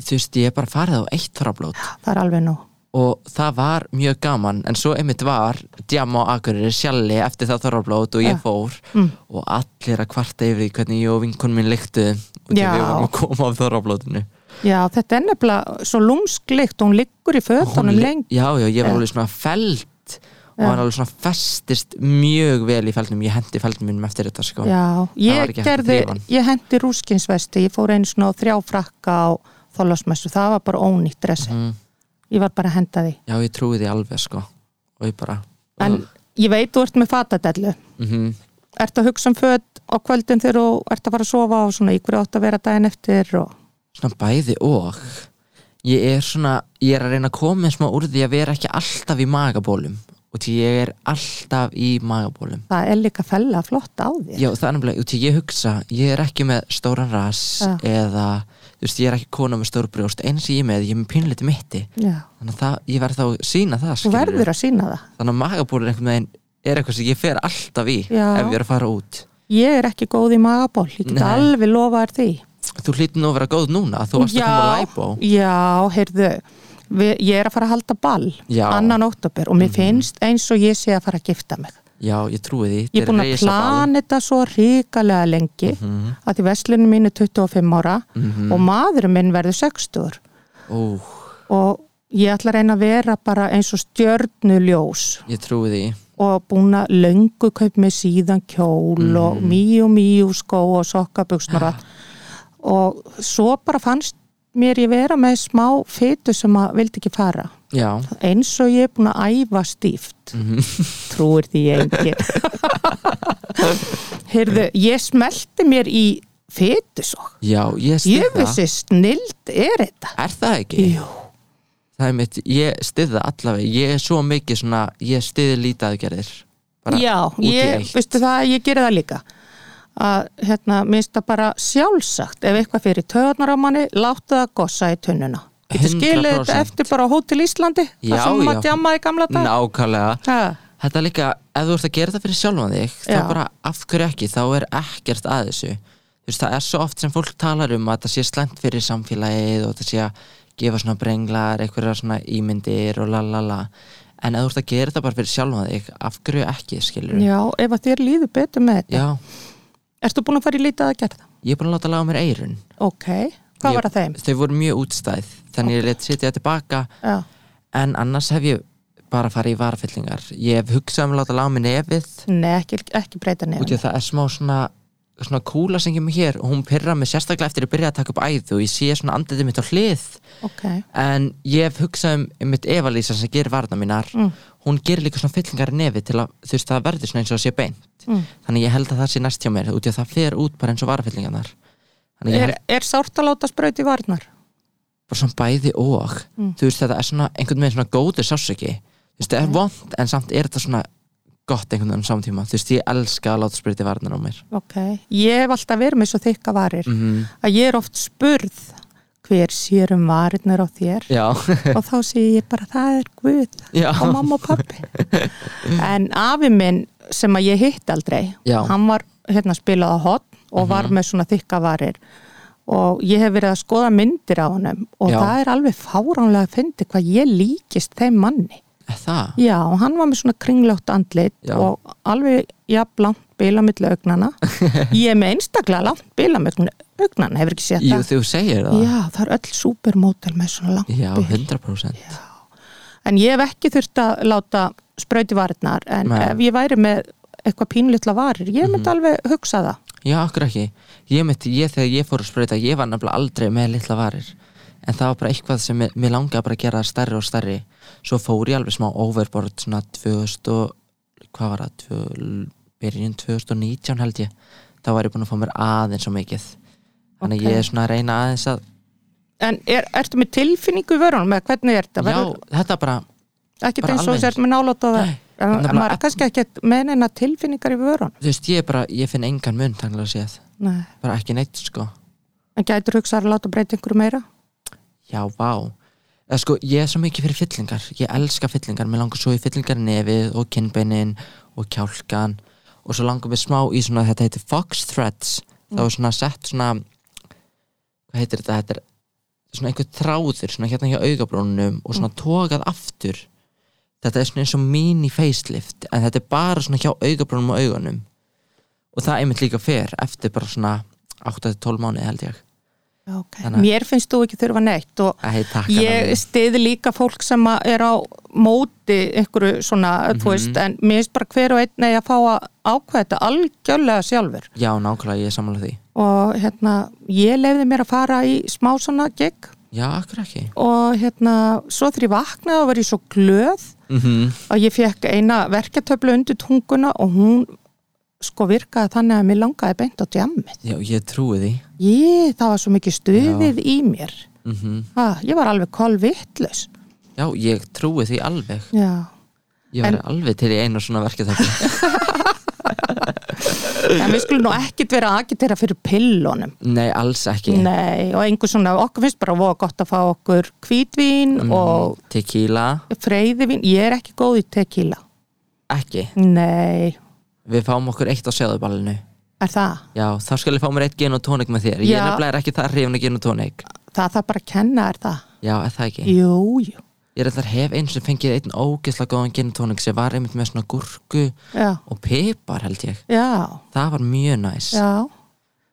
S3: þú veist, ég er bara farið á eitt þorrablót
S2: Það er alveg nú
S3: og það var mjög gaman en svo einmitt var djama á Akureyri sjalli eftir það þorrablót og ég
S2: Ja.
S3: fór
S2: Mm.
S3: og allir að kvarta yfir því hvernig ég og vinkonum minn lyktu og því
S2: Já.
S3: við vorum að koma af þorrablótinu
S2: Já, þetta er nefnilega svo lúmsklikt og hún liggur í
S3: Hún
S2: fötunum
S3: ly-
S2: lengi.
S3: já, já, ég var
S2: Ja.
S3: alveg svona felt og hann alveg svona festist mjög vel í feldnum, ég hendi feldnum mínum eftir þetta sko.
S2: Já,
S3: Það var
S2: ég
S3: ekki hægt að
S2: gerði,
S3: þrífa hann.
S2: ég hendi rúskinsvesti, ég fór einu svona á þrjá frakka á þólasmessu, það var bara ónýtt dressi.
S3: Mm.
S2: Ég var bara að henda því.
S3: já, ég trúi því alveg sko. og ég bara
S2: En ég veit, þú ert með fatadellu
S3: mhm,
S2: ert að hugsa um föt á kvöldin þegar þú ert að fara að sofa og svona í hverju átt að vera daginn eftir og
S3: svona bæði og ég er svona, ég er að reyna að koma eins og úr því að vera ekki alltaf í magabólum og því ég er alltaf í magabólum
S2: það er líka fella flott á þér
S3: já það er nefnilega, því ég hugsa ég er ekki með stóran ras
S2: Já.
S3: eða, þú veist, ég er ekki kona með stór brjóst eins og ég er með, ég er með pínleiti mitti
S2: Já.
S3: þannig að það, ég verð þá að sína það
S2: þú
S3: skilurðu.
S2: verður að sína það
S3: þannig að magaból er einhvern veginn er eitthvað sem ég fer alltaf í
S2: Já.
S3: ef ég er að fara út
S2: ég er ekki góð í magaból, ég get
S3: Nei.
S2: alveg lofa þér því
S3: þú hlýtur nú að vera góð núna þú varst að koma á læbó
S2: já, heyrðu við, ég er að fara að halda ball
S3: Já. Mhm.
S2: annan óttabir og mér finnst eins og ég sé að fara að gifta mig
S3: já, ég trúi því
S2: ég er búin að plana þetta svo ríkalega lengi mm
S3: Mhm.
S2: að því veslunum mín er 25 ára og maðurinn minn verður 60
S3: Ó,
S2: og ég ætla að reyna að vera bara eins og stjörnuljós
S3: ég trúi því
S2: og búin að löngu kaup með síðan kjól og mýju mýju skó og sokkabugsnur ja. og svo bara fannst mér ég vera með smá fytu sem að vildi ekki fara
S3: já,
S2: eins og ég er búin að æfa stíft trúir því engin heyrðu, ég smelti mér í fytusokk
S3: já, ég
S2: ég
S3: styð það
S2: vissi snild er þetta
S3: er það ekki?
S2: Jú.
S3: það er mitt, ég styð það allavega ég er svo mikið svona, ég styð lítaðgerðir bara
S2: já,
S3: út í
S2: ég,
S3: eitt
S2: veistu það, ég geri það líka að hérna, minnst það bara sjálfsagt ef eitthvað fyrir töðunar á manni láttu það gossa í tunnuna getur skilið þetta
S3: 100%.
S2: eftir bara á Hótel Íslandi
S3: Já,
S2: það sem maður
S3: já.
S2: djammaði í gamla dag
S3: nákvæmlega
S2: Ha,
S3: Þetta er líka, ef þú ert að gera það fyrir sjálfan þig þá
S2: Já.
S3: bara af hverju ekki, þá er ekkert að þessu þú veist, það er svo oft sem fólk talar um að það sé slæmt fyrir samfélagið og það sé að gefa svona brenglar einhverja svona ímyndir og lalala en ef þú ert að gera það bara fyrir sjálfan þig af hverju ekki, skilur
S2: já, ef að þér líður betur með þetta ertu búin að fara í lítið að gera það?
S3: ég er búin að láta laga mér eirun
S2: ok, hvað
S3: Ég-
S2: var að þeim?
S3: Þau voru mjög útstæð, þannig ég let sitja tilbaka
S2: Já,
S3: en annars hef ég bara farið í varfyllingar ég hef hugsað um að láta laga mér nefið
S2: nei, ekki, ekki breyta
S3: út
S2: nefn
S3: í að það er smá svona svona kúla sem kemur hér og hún pyrra mig sérstaklega eftir að byrja að taka upp æð og ég sé svona andlitið mitt á hlið
S2: ok,
S3: en ég hef hugsað um, um mitt Eva-Lísa sem gerir varna mínar
S2: mm,
S3: hún gerir líka svona fyllingar í nefi til að þú veist það verður svona eins og það sé beint
S2: Mm.
S3: þannig ég held að það sé næst hjá mér út í að það fer út bara eins og varafyllingarnar þannig ég
S2: er,
S3: held
S2: er sárt að láta spröyti varnar?
S3: bara svona bæði og
S2: Mm.
S3: þú veist þetta er svona einhvern veginn svona góður sásöki þú veist
S2: Mhm.
S3: það er vond en samt er þetta svona gott einhvern veginn samtíma þú veist ég elska að láta spriti varnar á mér
S2: ok, ég hef alltaf verið með svo þykka varir
S3: mm
S2: að ég er oft spurð hver sér um varirnar á þér
S3: já
S2: og þá sé ég bara það er guð
S3: Já.
S2: og mamma og pappi en afi minn sem að ég hitt aldrei
S3: Já. Mhm.
S2: hann var hérna spilað á hot og var með svona þykka varir og ég hef verið að skoða myndir á honum og
S3: Já.
S2: það er alveg fáránlega að fyndi hvað ég líkist þeim manni
S3: Er Það?
S2: já, og hann var með svona kringlátt andlit
S3: Já.
S2: og alveg jafn langt bila milli augnana ég er með einstaklega langt bila milli augnana hefur ekki séð
S3: Jú,
S2: það
S3: þú segir það.
S2: Já, það er öll supermótel með svona langt
S3: Já,
S2: bil.
S3: 100%.
S2: En ég hef ekki þurft að láta spröyti varirnar en
S3: Nei. Mhm.
S2: ef ég væri með eitthvað pínlítla varir, ég myndi alveg hugsa það.
S3: Já, okkur ekki. Ég myndi, ég, þegar ég fór að sprauta, ég var nefnilega aldrei með litla varir. En það var bara eitthvað sem mér, mér langaði bara að gera það stærri og stærri. Svo fór ég alveg smá overboard, svona 2000 og, hvað var það, Tvö- byrjun 2019 held ég. Þá var ég búin að fá mér aðeins og mikið. Þannig
S2: Ok.
S3: okay. ég er svona að reyna aðeins að,
S2: En er, ertu með tilfinningu í vörunum eða hvernig er þetta?
S3: já, þetta bara,
S2: ekki
S3: bara
S2: eins og
S3: alveg
S2: þess er með náláta það.
S3: Nei,
S2: En
S3: þetta er bara
S2: maður er
S3: efn-
S2: kannski ekki með neina tilfinningar í vörunum.
S3: þú veist, ég er bara, ég finn engan mun, þannig að séð.
S2: Nei.
S3: Bara ekki neitt, sko.
S2: En gætur hugsaðar að láta breyta einhverju meira?
S3: Já, vá Eða sko, ég er svo mikið fyrir fyllingar Ég elska fyllingar, mér langar svo í fyllingar í nefið og kinnbeinin og kjálkan og svo langar mér smá í svona þetta heitir Fox Threads þá er svona sett svona hvað heitir þetta, þetta er svona einhver þráður, svona hérna hjá augabrónunum og svona togað aftur þetta er svona eins og mini facelift en þetta er bara svona hjá augabrónunum og augunum og það einmitt líka fer eftir bara svona 8-12 mánuði held ég
S2: Já, ok.
S3: Þannig að-
S2: Mér finnst þú ekki þurfa neitt og
S3: Æ, takk, Anna
S2: ég
S3: mín.
S2: stiði líka fólk sem að er á móti einhverju svona, þú
S3: Mhm.
S2: veist, en mér finnst bara hver og einn eigi að fá að ákveða þetta algjörlega sjálfur
S3: Já, nákvæmlega, ég er sammála því
S2: og hérna, ég lefði mér að fara í smá svona gig
S3: Já, akkur ekki
S2: og hérna, svo þegar ég vaknaði og var ég svo glöð
S3: mm -hmm.
S2: að ég fekk eina verketöflu undir tunguna og hún sko virkaði þannig að mér langaði beint á djammið.
S3: Já, ég trúi því
S2: Ég, það var svo mikið stuðið í mér.
S3: mm
S2: Ha, ég var alveg kolvittlaus.
S3: Já, ég trúi því alveg
S2: Já.
S3: Ég var
S2: En-
S3: alveg til í einu svona verkið þetta
S2: En við skulum nú ekkit vera að agitera fyrir pillunum.
S3: Nei, alls ekki
S2: Nei, og einhver svona, okkur finnst bara voða gott að fá okkur hvítvín
S3: Mhm.
S2: og
S3: Mm, Tequila,
S2: freyðivín. Ég er ekki góð í tequila.
S3: ekki
S2: Nei,
S3: Við fáum okkur eitt á sjáðuballinu
S2: er það?
S3: Já, þá skal ég fá mér eitt gin og tónik með þér Ég
S2: Já.
S3: nefnilega er ekki það hrifin að gin og tónik
S2: Það þarf bara að kenna, er það?
S3: Já, er það ekki
S2: Jú, jú.
S3: Ég er alltaf hef eins og fengið einn ógeðslega góðan gin og tónik sem var einmitt með svona gúrku
S2: Já,
S3: og pipar held ég
S2: já,
S3: Það var mjög næs
S2: já,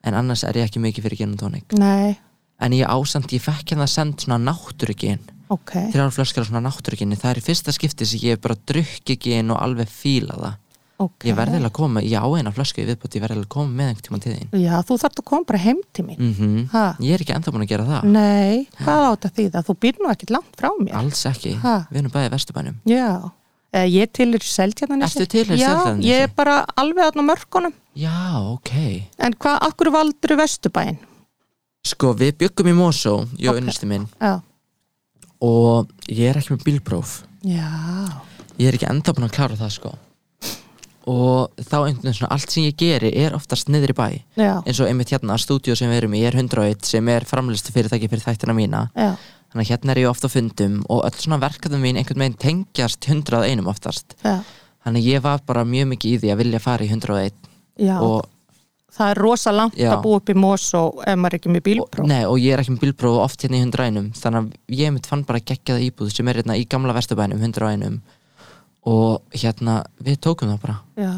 S3: En annars er ég ekki mikið fyrir gin og tónik
S2: nei,
S3: En ég ásamt, ég fekk hérna send svona náttúrugin
S2: ok.
S3: Þrjár flöskar af svona náttúruginni Það er í fyrsta skipti sem ég hef bara drukki gin og alveg fíla það
S2: okay.
S3: Ég verði að koma, ég á eina flösku í viðbúti Ég verði að koma með einhvern tímann til þín
S2: Já, þú þarft að koma bara heim til mín.
S3: mm
S2: Ha? Mm.
S3: Ég er ekki ennþá búin að gera það
S2: Nei, hvað átt að þýða? Þú býr nú ekkit langt frá mér.
S3: Alls ekki,
S2: Ha?
S3: við erum bæði vesturbænum
S2: Já, eh, ég tilur seldjarnanessi.
S3: Ertu tilheyrir
S2: Já,
S3: Seltjarnarnesi?
S2: ég er bara alveg aðna mörkunum.
S3: Já, ok
S2: En hvað, akkur valdur Vesturbæin?
S3: Sko, við byggum í Mosó, ég og okay. minn
S2: Já,
S3: Og ég er ekki með bílpróf
S2: já,
S3: Ég er ekki ennþá búin að klára það, sko Og þá einhvern veginn svona, allt sem ég geri er oftast niður í bæ
S2: já,
S3: Eins og einmitt hérna, stúdíu sem við erum í er 101 sem er framlistu fyrirtæki fyrir þættina mína
S2: já,
S3: Þannig að hérna er ég ofta á fundum og öll svona verkefnum mín einhvern veginn tengjast 101 oftast
S2: já,
S3: Þannig að ég var bara mjög mikið í því að vilja fara í 101
S2: já.
S3: og,
S2: það er rosa langt
S3: Já.
S2: að búa upp í mós og ef maður er ekki með
S3: og,
S2: bílpróf.
S3: nei, og ég er ekki með bílpróf og oft hérna í 101 Þannig að ég mitt fann bara geggjaða íbúð sem er hérna í gamla vesturbænum 101 Og hérna, við tókum það bara
S2: Já,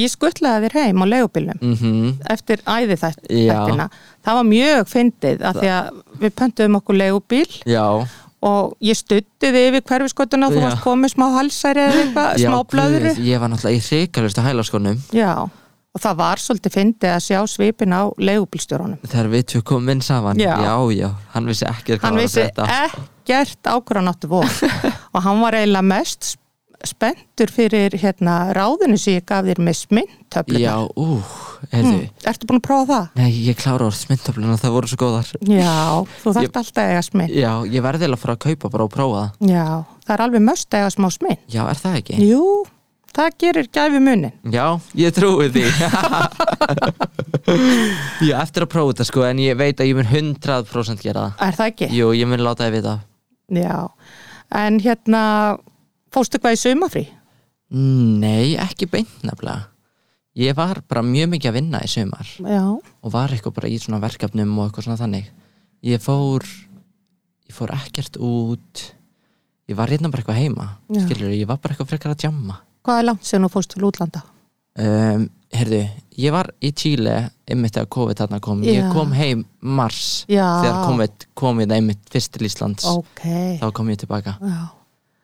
S2: ég skuttlaði þér heim á leigubílum
S3: mm
S2: eftir æði þætt-
S3: Já.
S2: þættina. Það var mjög fyndið að því að við pöntuðum okkur leigubíl
S3: Já,
S2: og ég stuttið yfir hverfiskotuna og þú
S3: Já.
S2: varst komið smá halsæri eða eitthvað,
S3: já,
S2: smá blöðru.
S3: guð, Ég var náttúrulega í hrikalust að hæla skonum
S2: Já, og það var svolítið fyndið að sjá svipin á leigubílstjórunum.
S3: Þegar við tjó komum inn saman
S2: Já.
S3: já, já, hann vissi ekki hvað
S2: hann
S3: var að
S2: vissi
S3: frétta
S2: ekkert á hverju hann átti von og hann var eiginlega mest sp- spenntur fyrir hérna ráðinu sem ég gaf þér með
S3: Já,
S2: sminntöflunar
S3: ú, heyrðu
S2: Ertu búin að prófa það?
S3: Nei, ég klára orð smyndtöfluna, það voru svo góðar
S2: Já, þú þarft alltaf að eiga sminn
S3: Já, ég verði alveg að fara að kaupa bara og prófa það
S2: Já, það er alveg möst að eiga smá sminn
S3: Já, er það ekki?
S2: Jú, það gerir gæfi munin
S3: Já, ég trúi því Já, eftir að prófa þetta sko En ég veit að ég mun 100% gera
S2: Er það ekki?
S3: það Jú, ég mun láta þið vita
S2: Já, en hérna fóstu hvað í sumafrí?
S3: Nei, ekki beint nefnilega Ég var bara mjög mikið að vinna í sumar
S2: Já,
S3: Og var eitthvað bara í svona verkefnum og eitthvað svona þannig Ég fór Ég fór ekkert út Ég var hérna bara eitthvað heima
S2: Já.
S3: Skilur, ég var bara eitthvað frekar að djamma
S2: hvað er langt sem þú fóstu til útlanda?
S3: um, Herðu, ég var í Chile einmitt þegar COVID þarna kom
S2: Já.
S3: Ég kom heim mars
S2: Já.
S3: þegar COVID kom ég það einmitt fyrst til Íslands
S2: Ok,
S3: þá kom ég tilbaka
S2: já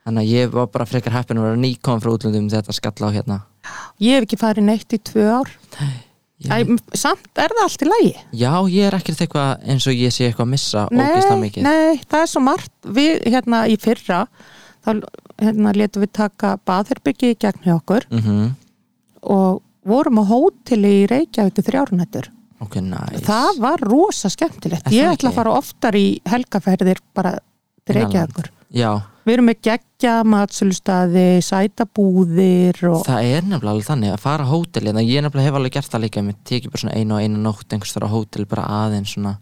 S3: Þannig að ég var bara frekar heppin að vera nýkom frá útlöndum þegar þetta skall á hérna
S2: Ég hef ekki farið neitt í tvö ár
S3: ég,
S2: Æ, m- samt er það allt í lagi
S3: Já, ég er ekkert eitthvað eins og ég sé eitthvað að missa ógeðslega
S2: nei,
S3: mikið
S2: nei, það er svo margt við hérna í fyrra þá hérna letum við taka baðherbyggi í gegn hjá okkur
S3: mm
S2: og vorum á hóteli í Reykjavík í þrjárnættur
S3: Ok, næs
S2: það var rosa skemmtilegt
S3: Er
S2: ég ætla
S3: það ekki?
S2: að fara oftar í helgaferðir bara til
S3: Innanlands.
S2: Reykjavíkur
S3: Já,
S2: við erum með geggja matsölustaði sætabúðir og
S3: það er nefnilega alveg þannig að fara á hótel en ég nefnilega hef alveg gert það líka ég tekið bara svona einu og einu nótt einhvers þar á hótel bara aðeins svona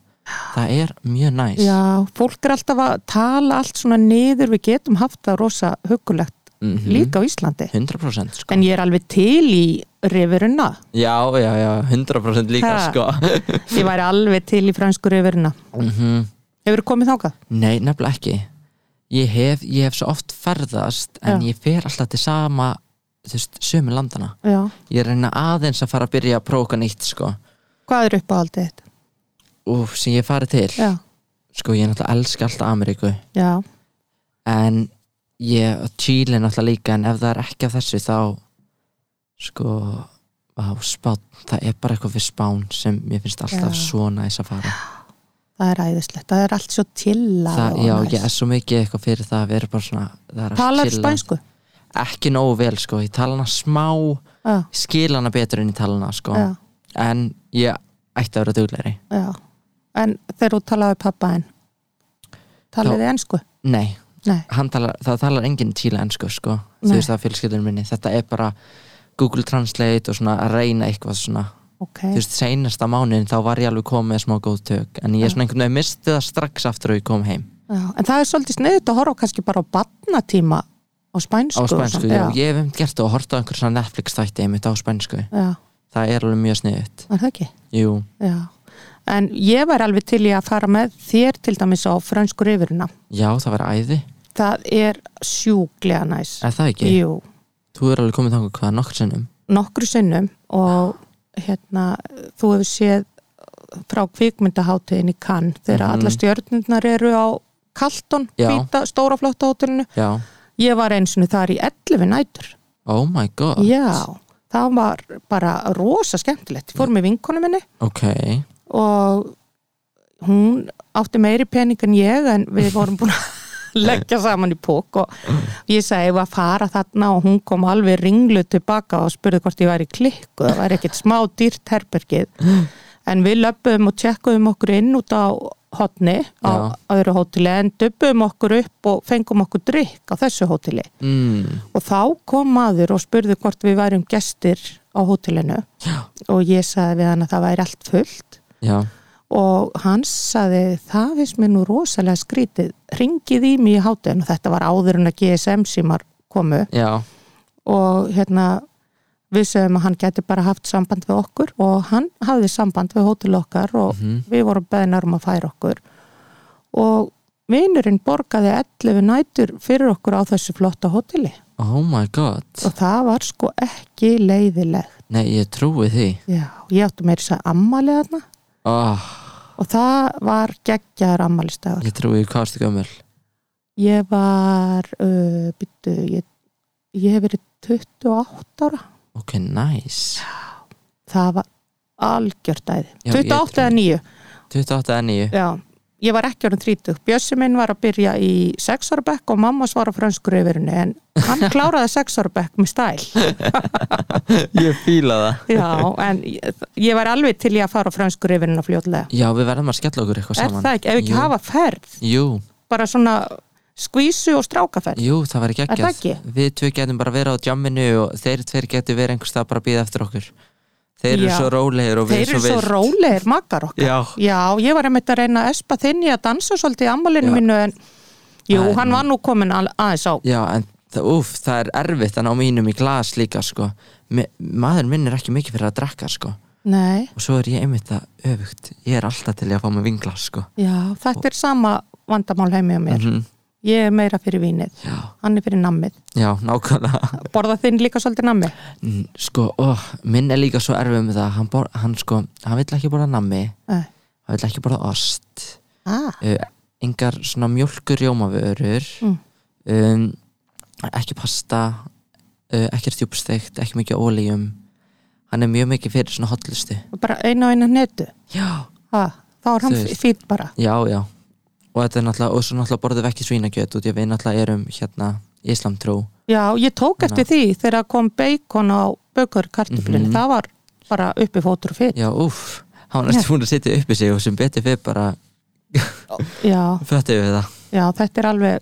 S3: það er mjög næs
S2: já, fólk er alltaf að tala allt svona niður við getum haft það rosa hugulegt
S3: Mhm.
S2: líka á Íslandi
S3: 100% sko
S2: en ég er alveg til í rifuruna
S3: Já, já, já, 100% líka
S2: Ha.
S3: sko
S2: ég væri alveg til í fransku rifurina
S3: mm
S2: hefur þú komið þákað?
S3: Nei, nefnilega ekki ég hef, ég hef svo oft ferðast
S2: Já.
S3: en ég fer alltaf til sama þú veist, sömu landana
S2: Já.
S3: ég reyna aðeins að fara að byrja að próka nýtt sko,
S2: hvað er upp á aldrei þetta?
S3: Úf, sem ég farið til
S2: Já.
S3: sko, ég náttúrulega elska alltaf Ameríku
S2: Já.
S3: en ég, og Chile náttúrulega líka en ef það er ekki af þessu þá sko á, spán, það er bara eitthvað við spán sem mér finnst alltaf
S2: Já.
S3: svo næs að fara
S2: það er æðislegt, það er allt svo tilla
S3: það, já, ég er svo mikið eitthvað fyrir það að vera bara svona það er að
S2: talar
S3: chilla.
S2: spænsku?
S3: ekki nógu vel sko, ég tala hana smá
S2: já,
S3: skil hana betur inn í talana sko.
S2: já,
S3: en ég ætti að vera duglegri
S2: já. En þegar þú talaði pappa henn, talaði þið ennsku?
S3: nei,
S2: Nei,
S3: hann talar, það talar enginn tíla ensku sko, þú
S2: Nei.
S3: veist það fjölskyldunum minni þetta er bara Google Translate og svona að reyna eitthvað svona
S2: ok.
S3: þú veist, seinasta mánuðin þá var ég alveg komið með smá góð tök en ég er svona einhvern veginn misti það strax aftur og ég kom heim
S2: Já, en það er svolítið sniðut að horfa kannski bara á barnatíma á spænsku.
S3: á
S2: og
S3: spænsku,
S2: svona.
S3: Sko, já, ég hef einmitt gert það og horta á einhver svona Netflix þætti einmitt á spænsku
S2: Já,
S3: það er alveg mjög sniðut,
S2: er það ekki?
S3: jú
S2: Já. En ég væri alveg til í að fara með þér til dæmis á frönskur yfiruna.
S3: já, það verið æði,
S2: Það er sjúklega næs.
S3: er það ekki?
S2: Jú,
S3: þú er alveg komið þangur hvað nokkur sinnum
S2: nokkru sinnum og hérna, þú hefur séð frá kvikmyndaháttiðin í Cann þegar
S3: Mhm.
S2: alla stjörnurnar eru á Kalton,
S3: Já.
S2: hvita, stóra flotta hótelinu.
S3: já,
S2: Ég var eins og þar í 11 nætur.
S3: oh my god
S2: Já, það var bara rosa skemmtilegt. Ég fór með vinkonu minni
S3: ok,
S2: og hún átti meiri pening en ég en við vorum búin að leggja saman í pók og ég sagði ég var að fara þarna og hún kom alveg ringlu tilbaka og spurði hvort ég væri í klikku það væri ekkert smá dýrt herbergið en við löpum og tjekkuðum okkur inn út á hotni á öðru hóteli en döpum okkur upp og fengum okkur drikk á þessu hóteli
S3: mm.
S2: og þá kom maður og spurði hvort við værum gestir á hótelinu
S3: Já.
S2: og ég sagði við hann að það væri allt fullt
S3: já,
S2: og hann sagði það finnst mér nú rosalega skrítið ringið í mig í hátuðin og þetta var áður en að GSM símar komu
S3: já,
S2: og hérna við sögum að hann geti bara haft samband við okkur og hann hafði samband við hótel okkar og við vorum beðnar um að færa okkur og vinurinn borgaði 11 nætur fyrir okkur á þessu flotta hóteli
S3: oh my god
S2: og það var sko ekki leiðilegt
S3: nei, ég trúi því
S2: já, ég átti meira þess að ammali þarna
S3: oh,
S2: og það var geggjaður ammalistagur
S3: ég trúi því, hvað erstu gömul
S2: ég var uh, byttu, ég, ég hef verið 28 ára
S3: ok, nice
S2: það var algjört æði
S3: Já, ég
S2: 28
S3: trúi.
S2: eða 9
S3: 28 að 9
S2: já, ég var ekki orðin 30 Bjössi minn var að byrja í 6 ára bekk og mamma svara franskur yfirinu en hann kláraði 6 ára bekk með stæl
S3: ég fíla það
S2: já, en ég, ég var alveg til ég að fara á franskur yfirinu fljótlega
S3: já, við verðum að skella okkur eitthvað
S2: er
S3: saman
S2: það ekki, ef ekki
S3: Jú.
S2: hafa ferð
S3: jú,
S2: bara svona skvísu og strákaferð
S3: jú, það var ekki
S2: Er það ekki?
S3: við tvö getum bara verið á jamminu og þeir tveir getum verið einhvers það bara að býða eftir okkur þeir eru
S2: Já.
S3: svo rólegir og við
S2: þeir eru svo
S3: vilt.
S2: rólegir makkar okkar
S3: já,
S2: ég var einmitt að reyna að espa þinn í að dansa svolítið í ammalinu
S3: Já.
S2: mínu en jú,
S3: Það er-
S2: hann var nú komin al- aðeins á
S3: já, en það, úf, það er erfitt að ná mínum í glas líka sko. Me, maður minn er ekki mikið fyrir að drekka sko.
S2: nei,
S3: og svo er ég einmitt að öfugt ég er alltaf til í að fá mig vinglas sko.
S2: já, þetta er sama vandamál heimi á mér,
S3: Mhm.
S2: ég er meira fyrir vínið
S3: já,
S2: hann er fyrir nammið,
S3: já, nákvæmlega
S2: borða þinn líka svolítið nammi
S3: N- sko, ó, minn er líka svo erfið með það hann, bor, hann sko, hann vill ekki borða nammi
S2: Nei.
S3: hann vill ekki borða ost
S2: ah,
S3: uh, engar svona mjölkur rjómavörur
S2: Mm.
S3: um, ekki pasta uh, ekki stjúpsteikt, ekki mikið ólíum hann er mjög mikið fyrir svona hotlustu
S2: bara einu og einu netu
S3: já,
S2: ah, þá er hann
S3: Þú veist.
S2: fýtt bara
S3: já, já og þetta er náttúrulega, og svo náttúrulega borðum við ekki svínakjöt út í að við náttúrulega erum hérna islamtrú
S2: já, ég tók eftir því þegar kom beikon á bökur
S3: Mhm.
S2: kartöflunni, það var bara uppi fótur og fýtt
S3: já, úff, hann er búin að sitja uppi sig og sem betur við bara
S2: já,
S3: föttu við það
S2: Já, þetta er alveg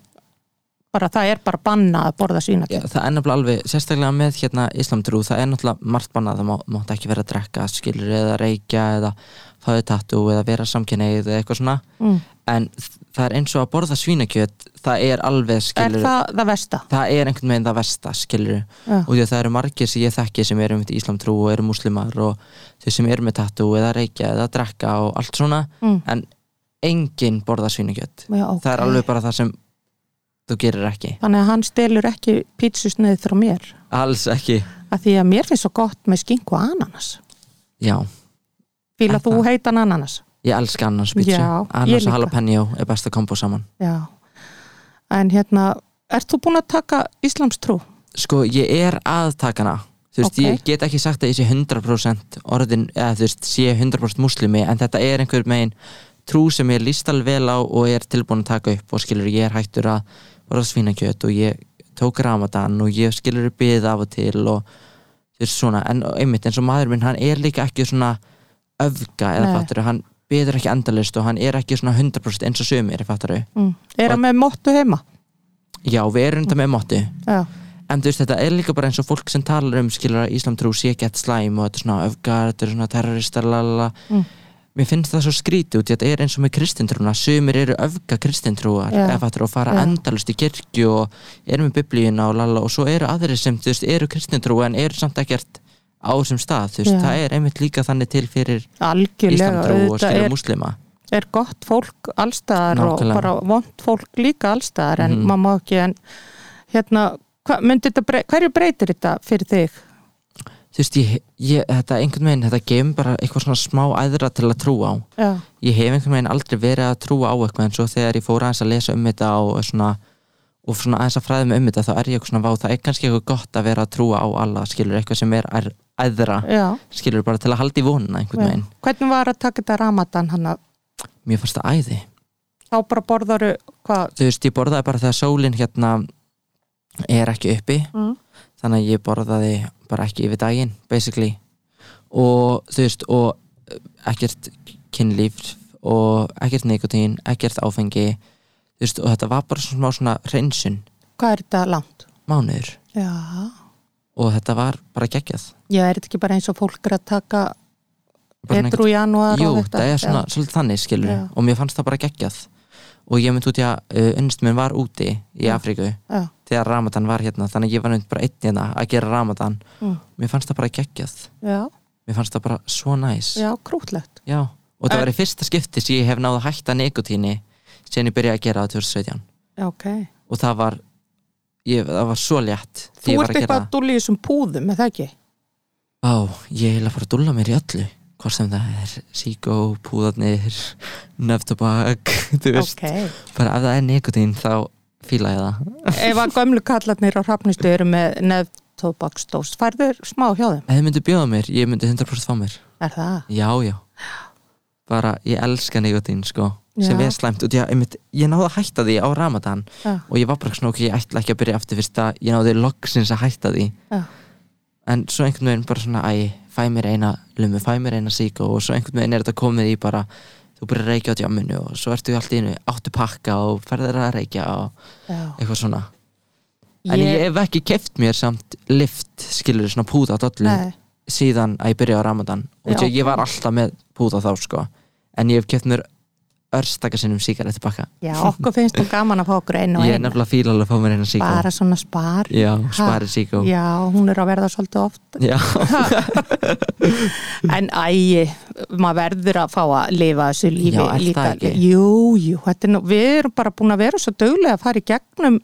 S2: bara, það er bara bannað að borða
S3: Já,
S2: svínakjöt.
S3: það er nefnilega alveg, sérstaklega með hérna islamtrú, það er náttúrulega margt bannað það má, mátt ekki vera að drekka, skilur eða reykja eða fáið tattu eða vera samkynneið eða eitthvað svona
S2: Mm.
S3: en það er eins og að borða svínakjöt það er alveg
S2: Er
S3: skilur
S2: það það versta?
S3: það er einhvern veginn það versta skilur
S2: Já.
S3: og því að það eru margir sem ég þekki sem eru með islamtrú og eru muslimar og þau sem eru með tattu eða reykja eða drekka og allt svona
S2: Mm.
S3: en enginn borða svínakjöt
S2: Já, ok.
S3: það er alveg bara það sem þú gerir ekki,
S2: Þannig að hann stelur ekki pítsusneið frá mér.
S3: alls ekki
S2: Af því að mér finnst svo gott með skinku og ananas.
S3: já
S2: Fýla
S3: Er
S2: þú
S3: það?
S2: heitan ananas?
S3: Ég elska annars pítsu,
S2: Já, ég
S3: annars
S2: líka.
S3: og jalapeno er besta kombo saman.
S2: Já. En hérna, ert þú búin að taka íslamstrú?
S3: Sko, ég er að taka hana, þú veist,
S2: Ok.
S3: ég get ekki sagt að ég sé 100% orðin, eða þú veist, sé 100% muslimi, en þetta er einhver megin trú sem ég líst alveg vel á og er tilbúin að taka upp og skilur, ég er hættur að bara svínakjöt og ég tók ramadan og ég skilur byð af og til og þú veist svona, en einmitt eins og maður minn hann er líka ekki svona öfga eða
S2: Nei.
S3: fattaru, hann byður ekki endalist og hann er ekki svona 100% eins og sömur fattaru,
S2: mm. er hann með móttu heima
S3: já við erum þetta með móti
S2: já,
S3: en þú veist þetta er líka bara eins og fólk sem talar um skilur að Íslam trú sé gett slæm og þetta er svona öfgar, þetta er svona terroristar lalala,
S2: Mm.
S3: mér finnst það svo skrítið út í að þetta er eins og með kristintrúna sömur eru öfga kristintrúar
S2: Já.
S3: eða fattur og fara
S2: Já.
S3: endalust í kirkju og eru með biblíuna og lala og svo eru aðrir sem þú veist eru kristintrú en eru samt ekkert á þessum stað þú veist
S2: Já.
S3: það er einmitt líka þannig til fyrir
S2: algjörlega
S3: Íslamtrú og
S2: auðvitað
S3: skilur
S2: er,
S3: muslima
S2: er gott fólk allstaðar og
S3: Nákvæmlega.
S2: bara vond fólk líka allstaðar en
S3: Mhm.
S2: maður má ekki en hérna, hva, myndi þetta brey, hverju breytir þetta fyrir þig?
S3: þú veist ég, ég þetta einhvern veginn þetta gefur bara eitthvað svona smá æðra til að trúa á
S2: Já,
S3: ég hef einhvern veginn aldrei verið að trúa á eitthvað en svo þegar ég fór aðeins að lesa um þetta og svona, og svona aðeins að fræða mig um þetta þá er ég eitthvað svona vá, það er kannski eitthvað gott að vera að trúa á alla, skilur, eitthvað sem er ær- æðra,
S2: já,
S3: skilur, bara til að halda í vonuna einhvern
S2: já.
S3: veginn,
S2: hvernig var að taka þetta ramadan hann að
S3: mér fannst það æði
S2: þá bara borðaru hvað
S3: þú veist, ég borðaði bara þegar sólin hérna er ekki uppi
S2: Mm.
S3: þannig að ég borðaði bara ekki yfir daginn, basically og þú veist, og eh, ekkert kynlíf og ekkert nikotín, ekkert áfengi þú veist, og þetta var bara svona smá svona hreinsun
S2: hvað er þetta langt?
S3: mánuður
S2: Já,
S3: og þetta var bara geggjað
S2: já, er þetta ekki bara eins og fólk er að taka
S3: bara svona
S2: Petru janúar
S3: Jú,
S2: og þetta?
S3: það er svona svolítið þannig skilur
S2: Já.
S3: og mér fannst það bara geggjað og ég myndi út í að uh, unnst minn var úti í
S2: Já.
S3: Afríku
S2: Já, já,
S3: þegar Ramadan var hérna þannig að ég var nefnd bara einn hérna að gera Ramadan
S2: Mm.
S3: mér fannst það bara geggjað
S2: já,
S3: mér fannst það bara svo næs
S2: já, krútlegt
S3: Já. og það
S2: En-
S3: var í fyrsta skipti sem ég hef náð að hætta nikotíni sem ég byrjaði að gera á 2017
S2: Já, ok.
S3: og það var ég, það var svo létt því
S2: Þú
S3: ég var
S2: ert
S3: að gera
S2: eitthvað að dúlið þessum púðum, er það ekki?
S3: Á, ég heila fara að dúlla mér í öllu hvort sem það er síkó, púðarnir neftabak þú veist,
S2: Ok.
S3: bara ef það er nikotín þá fíla ég það
S2: ef að gömlu kallarnir á hrafnistu eru með nefn tóbaksdós, færður smá hjá þeim,
S3: ef þið myndu bjóða mér, ég myndi 100% fá mér
S2: er það?
S3: já, já bara ég elska nikotín sko sem
S2: Já.
S3: er slæmt og ég, einmitt, ég náði að hætta því á ramadan
S2: Já,
S3: og ég var bara svona ok, ég ætla ekki að byrja aftur fyrst að ég náði loksins að hætta því
S2: já,
S3: en svo einhvern veginn bara svona æ, fæ mér eina lumu, fæ mér eina síkó og svo einhvern veginn er þetta komið í bara þú byrjar að reykja á djamminu og svo ertu allt í einu áttu pakka og ferðar að reykja og
S2: já.
S3: eitthvað svona en ég, hef ekki keft mér samt lift skilur svona púða á dollu
S2: nei,
S3: síðan að ég byrja á ramadan og
S2: Já,
S3: ég, ég var
S2: ok.
S3: alltaf með púða þá sko en ég hef keft mér örstaka sinnum síkaretti pakka
S2: já, okkur finnst þú gaman að fá okkur einu og
S3: ég er
S2: einu,
S3: nefnilega fíl alveg að fá mér eina síkó
S2: bara svona spar,
S3: já, spari síkó
S2: já, hún er að verða svolítið oft,
S3: já,
S2: en ægi, maður verður að fá að lifa þessu lífi
S3: Já, er það
S2: líka.
S3: ekki?
S2: Jú, jú, þetta er nú, við erum bara búin að vera svo dögulega að fara í gegnum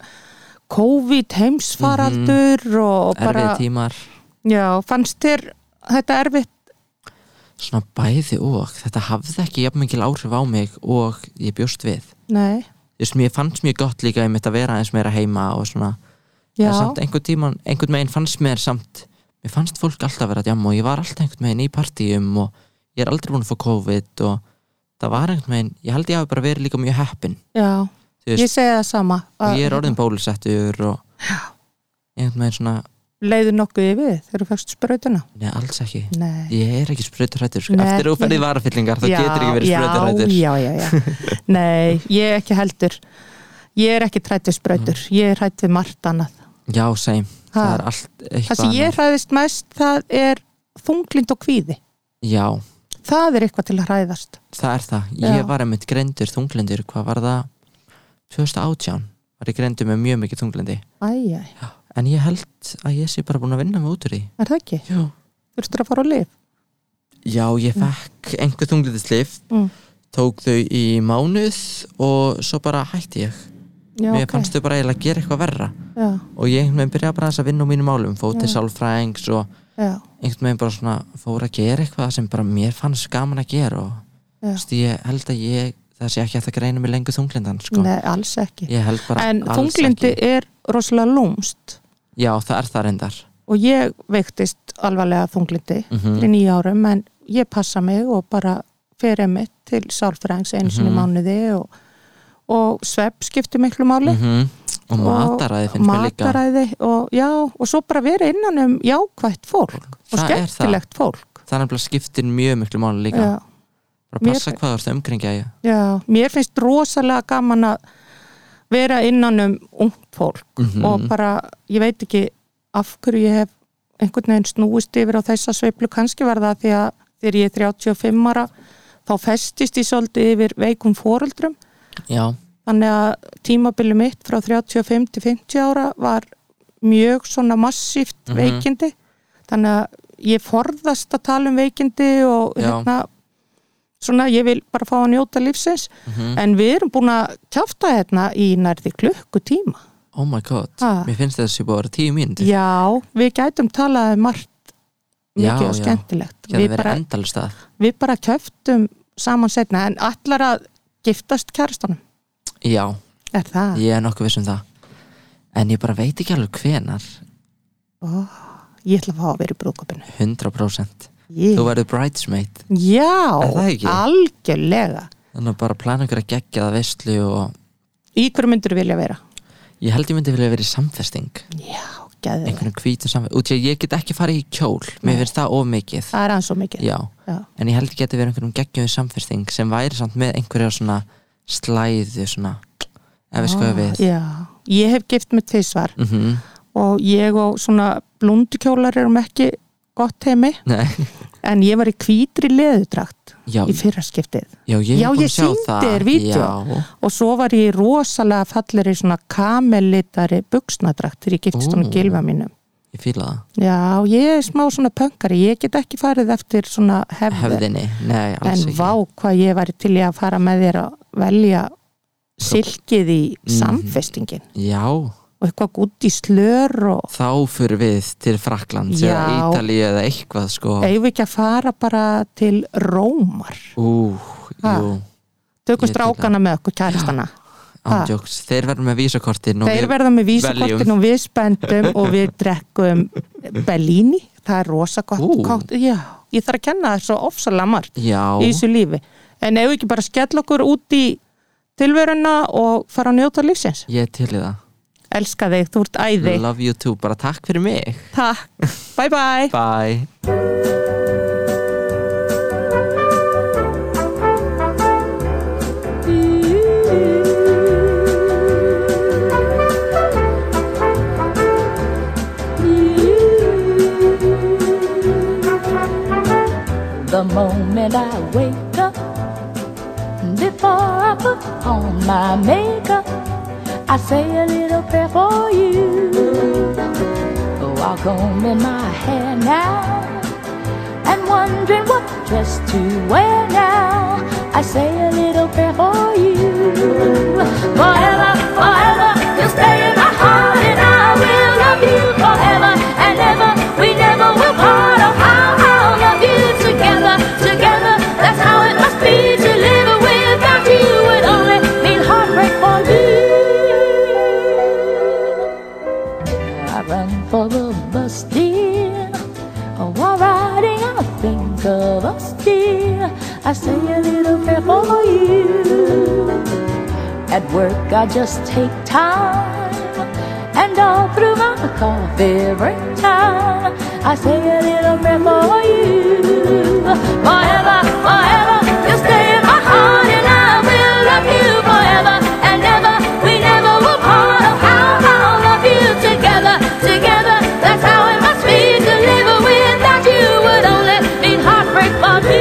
S2: COVID heimsfaraldur og bara,
S3: erfið tímar
S2: já, fannst þér þetta erfitt
S3: svona bæði og þetta hafði ekki jafn mikil áhrif á mig og ég bjóst við
S2: Nei,
S3: þú veist, mér fannst mjög gott líka ég mitt að vera eins meira heima og svona en
S2: já,
S3: samt einhvern tíman, einhvern megin fannst mér samt mér fannst fólk alltaf vera að jamma og ég var alltaf einhvern megin í partíum og ég er aldrei búin að fá COVID og það var einhvern megin, ég held ég hafi bara verið líka mjög heppin
S2: já,
S3: þú
S2: ég
S3: veist,
S2: segi það sama
S3: og
S2: að
S3: ég er orðin bólusettur og einhvern megin svona,
S2: leiðu nokkuð yfir þegar þú fækst sprautuna
S3: neða alls ekki
S2: Nei.
S3: ég er ekki sprauturrættur, sko.
S2: Nei,
S3: eftir að þú ferði
S2: ég-
S3: varafyllingar þá getur ekki verið
S2: já,
S3: sprauturrættur
S2: já, já, já. Nei, ég ekki heldur ég er ekki trætt við sprautur ég er trætt við margt annað
S3: já, same, Mm. það
S2: Ha.
S3: er allt eitthvað
S2: það sem
S3: annað.
S2: ég hræðist mest það er þunglind og kvíði
S3: Já,
S2: það er eitthvað til að hræðast
S3: það er það.
S2: Já.
S3: Ég var einmitt greindur þunglindur, hvað var það? 2018 var ég greindur með mjög mikið þunglindi.
S2: Æ, æ,
S3: En ég held að ég sé bara búin að vinna mig út úr því.
S2: er það ekki?
S3: Já.
S2: Þurftur að fara á lif?
S3: Já, ég fekk einhver þunglindislif,
S2: Mm.
S3: tók þau í mánuð og svo bara hætti ég.
S2: Já,
S3: Mér
S2: ok.
S3: fannst þau bara eiginlega að gera eitthvað verra.
S2: já,
S3: Og ég einhvern veginn byrjaði bara aðeins að vinna úr mínum málum, fótið sálfræðings og
S2: já,
S3: einhvern veginn bara svona fór að gera eitthvað sem bara mér fannst gaman að gera og
S2: já.
S3: þú veist, ég held að ég, það sé ekki hægt að greina mig lengur þunglindan, sko.
S2: Nei, alls ekki
S3: Ég held bara
S2: en
S3: alls
S2: þunglindi
S3: ekki.
S2: er rosalega lúmst
S3: Já, það er það reyndar
S2: og ég veiktist alvarlega þunglindi
S3: Mhm.
S2: fyrir nýja árum en ég passa mig og bara fyrir mig til sálfræðings einu sinni
S3: Mhm.
S2: mánuði og, og svepp skiptir miklu máli
S3: mm -hmm. og mataræði finnst mér líka
S2: mataræði og já, og svo bara vera innan um jákvætt fólk og
S3: Það er það.
S2: skemmtilegt fólk
S3: það er nefnilega skiptir mjög miklu máli líka
S2: já,
S3: bara
S2: Mér-
S3: passa hvað þú ert að umkringja í.
S2: já, mér finnst rosalega gaman að vera innan um ungt fólk
S3: Mhm.
S2: og bara, ég veit ekki af hverju ég hef einhvern veginn snúist yfir á þessa sveiflu, kannski var það því að þegar ég er 35 ára þá festist ég svolítið yfir veikum fóreldrum
S3: já,
S2: Þannig að tímabili mitt frá 35 til 50 ára var mjög svona massíft
S3: Mhm.
S2: veikindi. Þannig að ég forðast að tala um veikindi og
S3: Já.
S2: hérna, svona ég vil bara fá að njóta lífsins.
S3: Mhm.
S2: En við erum búin að kjáfta hérna í nærði klukkutíma.
S3: oh my god
S2: Ha.
S3: mér finnst þetta sé búið að vera tíu mínútur
S2: Já, við gætum talað um margt
S3: Já,
S2: mikið og
S3: já.
S2: skemmtilegt.
S3: það
S2: Við
S3: verið
S2: bara,
S3: endalist að
S2: við bara kjöftum saman setna en allar að giftast kærastanum.
S3: já,
S2: Er það?
S3: ég er nokkuð viss um það en ég bara veit ekki alveg hvenar
S2: Ó, ég ætla að fá að vera í brúkupinu.
S3: 100%
S2: Ég...
S3: þú verður bridesmaid
S2: Já,
S3: Er það ekki?
S2: algjörlega.
S3: þannig að bara plana ykkur að gegja það veistlu og
S2: Í hverju myndur vilja vera?
S3: ég held ég myndi vilja verið samfesting
S2: Já, gæðið.
S3: einhvern hvítum samfesting, út í að ég get ekki farið í kjól mér finnst það of mikið
S2: Það er aðeins svo mikið.
S3: já,
S2: Já.
S3: en ég held ég geti verið einhvern geggjum samfesting sem væri samt með einhverja svona slæðu svona ef við skoðum við
S2: Ah, Já, ég hef gift mig tvisvar
S3: mm
S2: og ég og svona blundukjólar erum ekki gott heimi
S3: Nei,
S2: en ég var í hvítri leðudrakt
S3: já,
S2: í fyrra skiptið
S3: já, ég,
S2: Já,
S3: er búin
S2: ég
S3: að sjá
S2: sýndi
S3: það.
S2: þér vídeó.
S3: Já,
S2: og svo var ég í rosalega falleri svona kamellitari buksnadrakt þegar ég giftist
S3: Ó.
S2: hún gilfa mínum.
S3: ég fíla það
S2: Já, ég er smá svona pöngari, ég get ekki farið eftir svona hefðir.
S3: Hefðinni, nei, alls
S2: en
S3: ekki
S2: vá hvað ég var til í að fara með þér að velja silkið í
S3: Mhm.
S2: samfestingin
S3: Já,
S2: og eitthvað gútt í slör og
S3: þá fyrir við til Fraklands
S2: Já.
S3: eða Ítalíu eða eitthvað sko
S2: eigum við ekki að fara bara til Rómar
S3: Ú,
S2: Ha.
S3: jú,
S2: tökum
S3: Ég til
S2: strákana með okkur kæristana Ha.
S3: ándjóks Þeir verður með vísakortin og
S2: þeir
S3: við-
S2: verða með
S3: veljum.
S2: vísakortin og við spendum og við drekkum Bellini, það er rosa gott
S3: Ú.
S2: kátt, já, ég þarf að kenna það svo ofsalega margt
S3: Já,
S2: í þessu lífi en eigum við ekki bara að skella okkur út í tilveruna og fara að njóta lífsins
S3: ég er til í það
S2: elska þig, þú ert æði
S3: Love you too, bara takk fyrir mig
S2: Takk. Bye bye.
S3: Bye
S4: The moment I wake up, before I put on my makeup, I say a little prayer for you. While combing my hair now, and wondering what dress to wear now, I say a little prayer for you. Forever, forever, you stay in my heart, and I will love you forever and ever. We never will part. Oh, how I'll love you together, together. That's how it must be to live without you. Would only mean heartbreak for you. I run for the bus, dear. Oh, While riding, I think of us, dear. I say a little prayer for you. At work, I just take time. And all through my coffee break time, I say a little prayer for you. Forever, forever, you stay in my heart, and I will love you forever and ever. We never will part. Oh, how I'll love you together, together. That's how it must be to live without you. Would only mean heartbreak for me.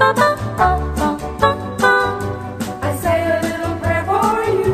S4: I say a little prayer for you.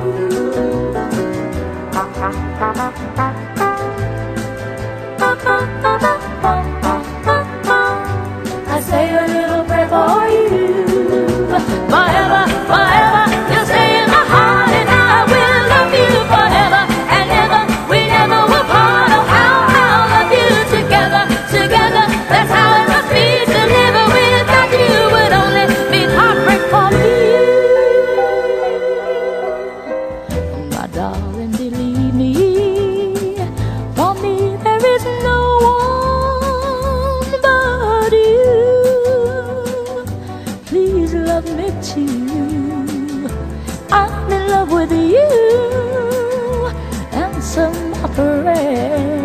S4: love me too. I'm in love with you and some opera.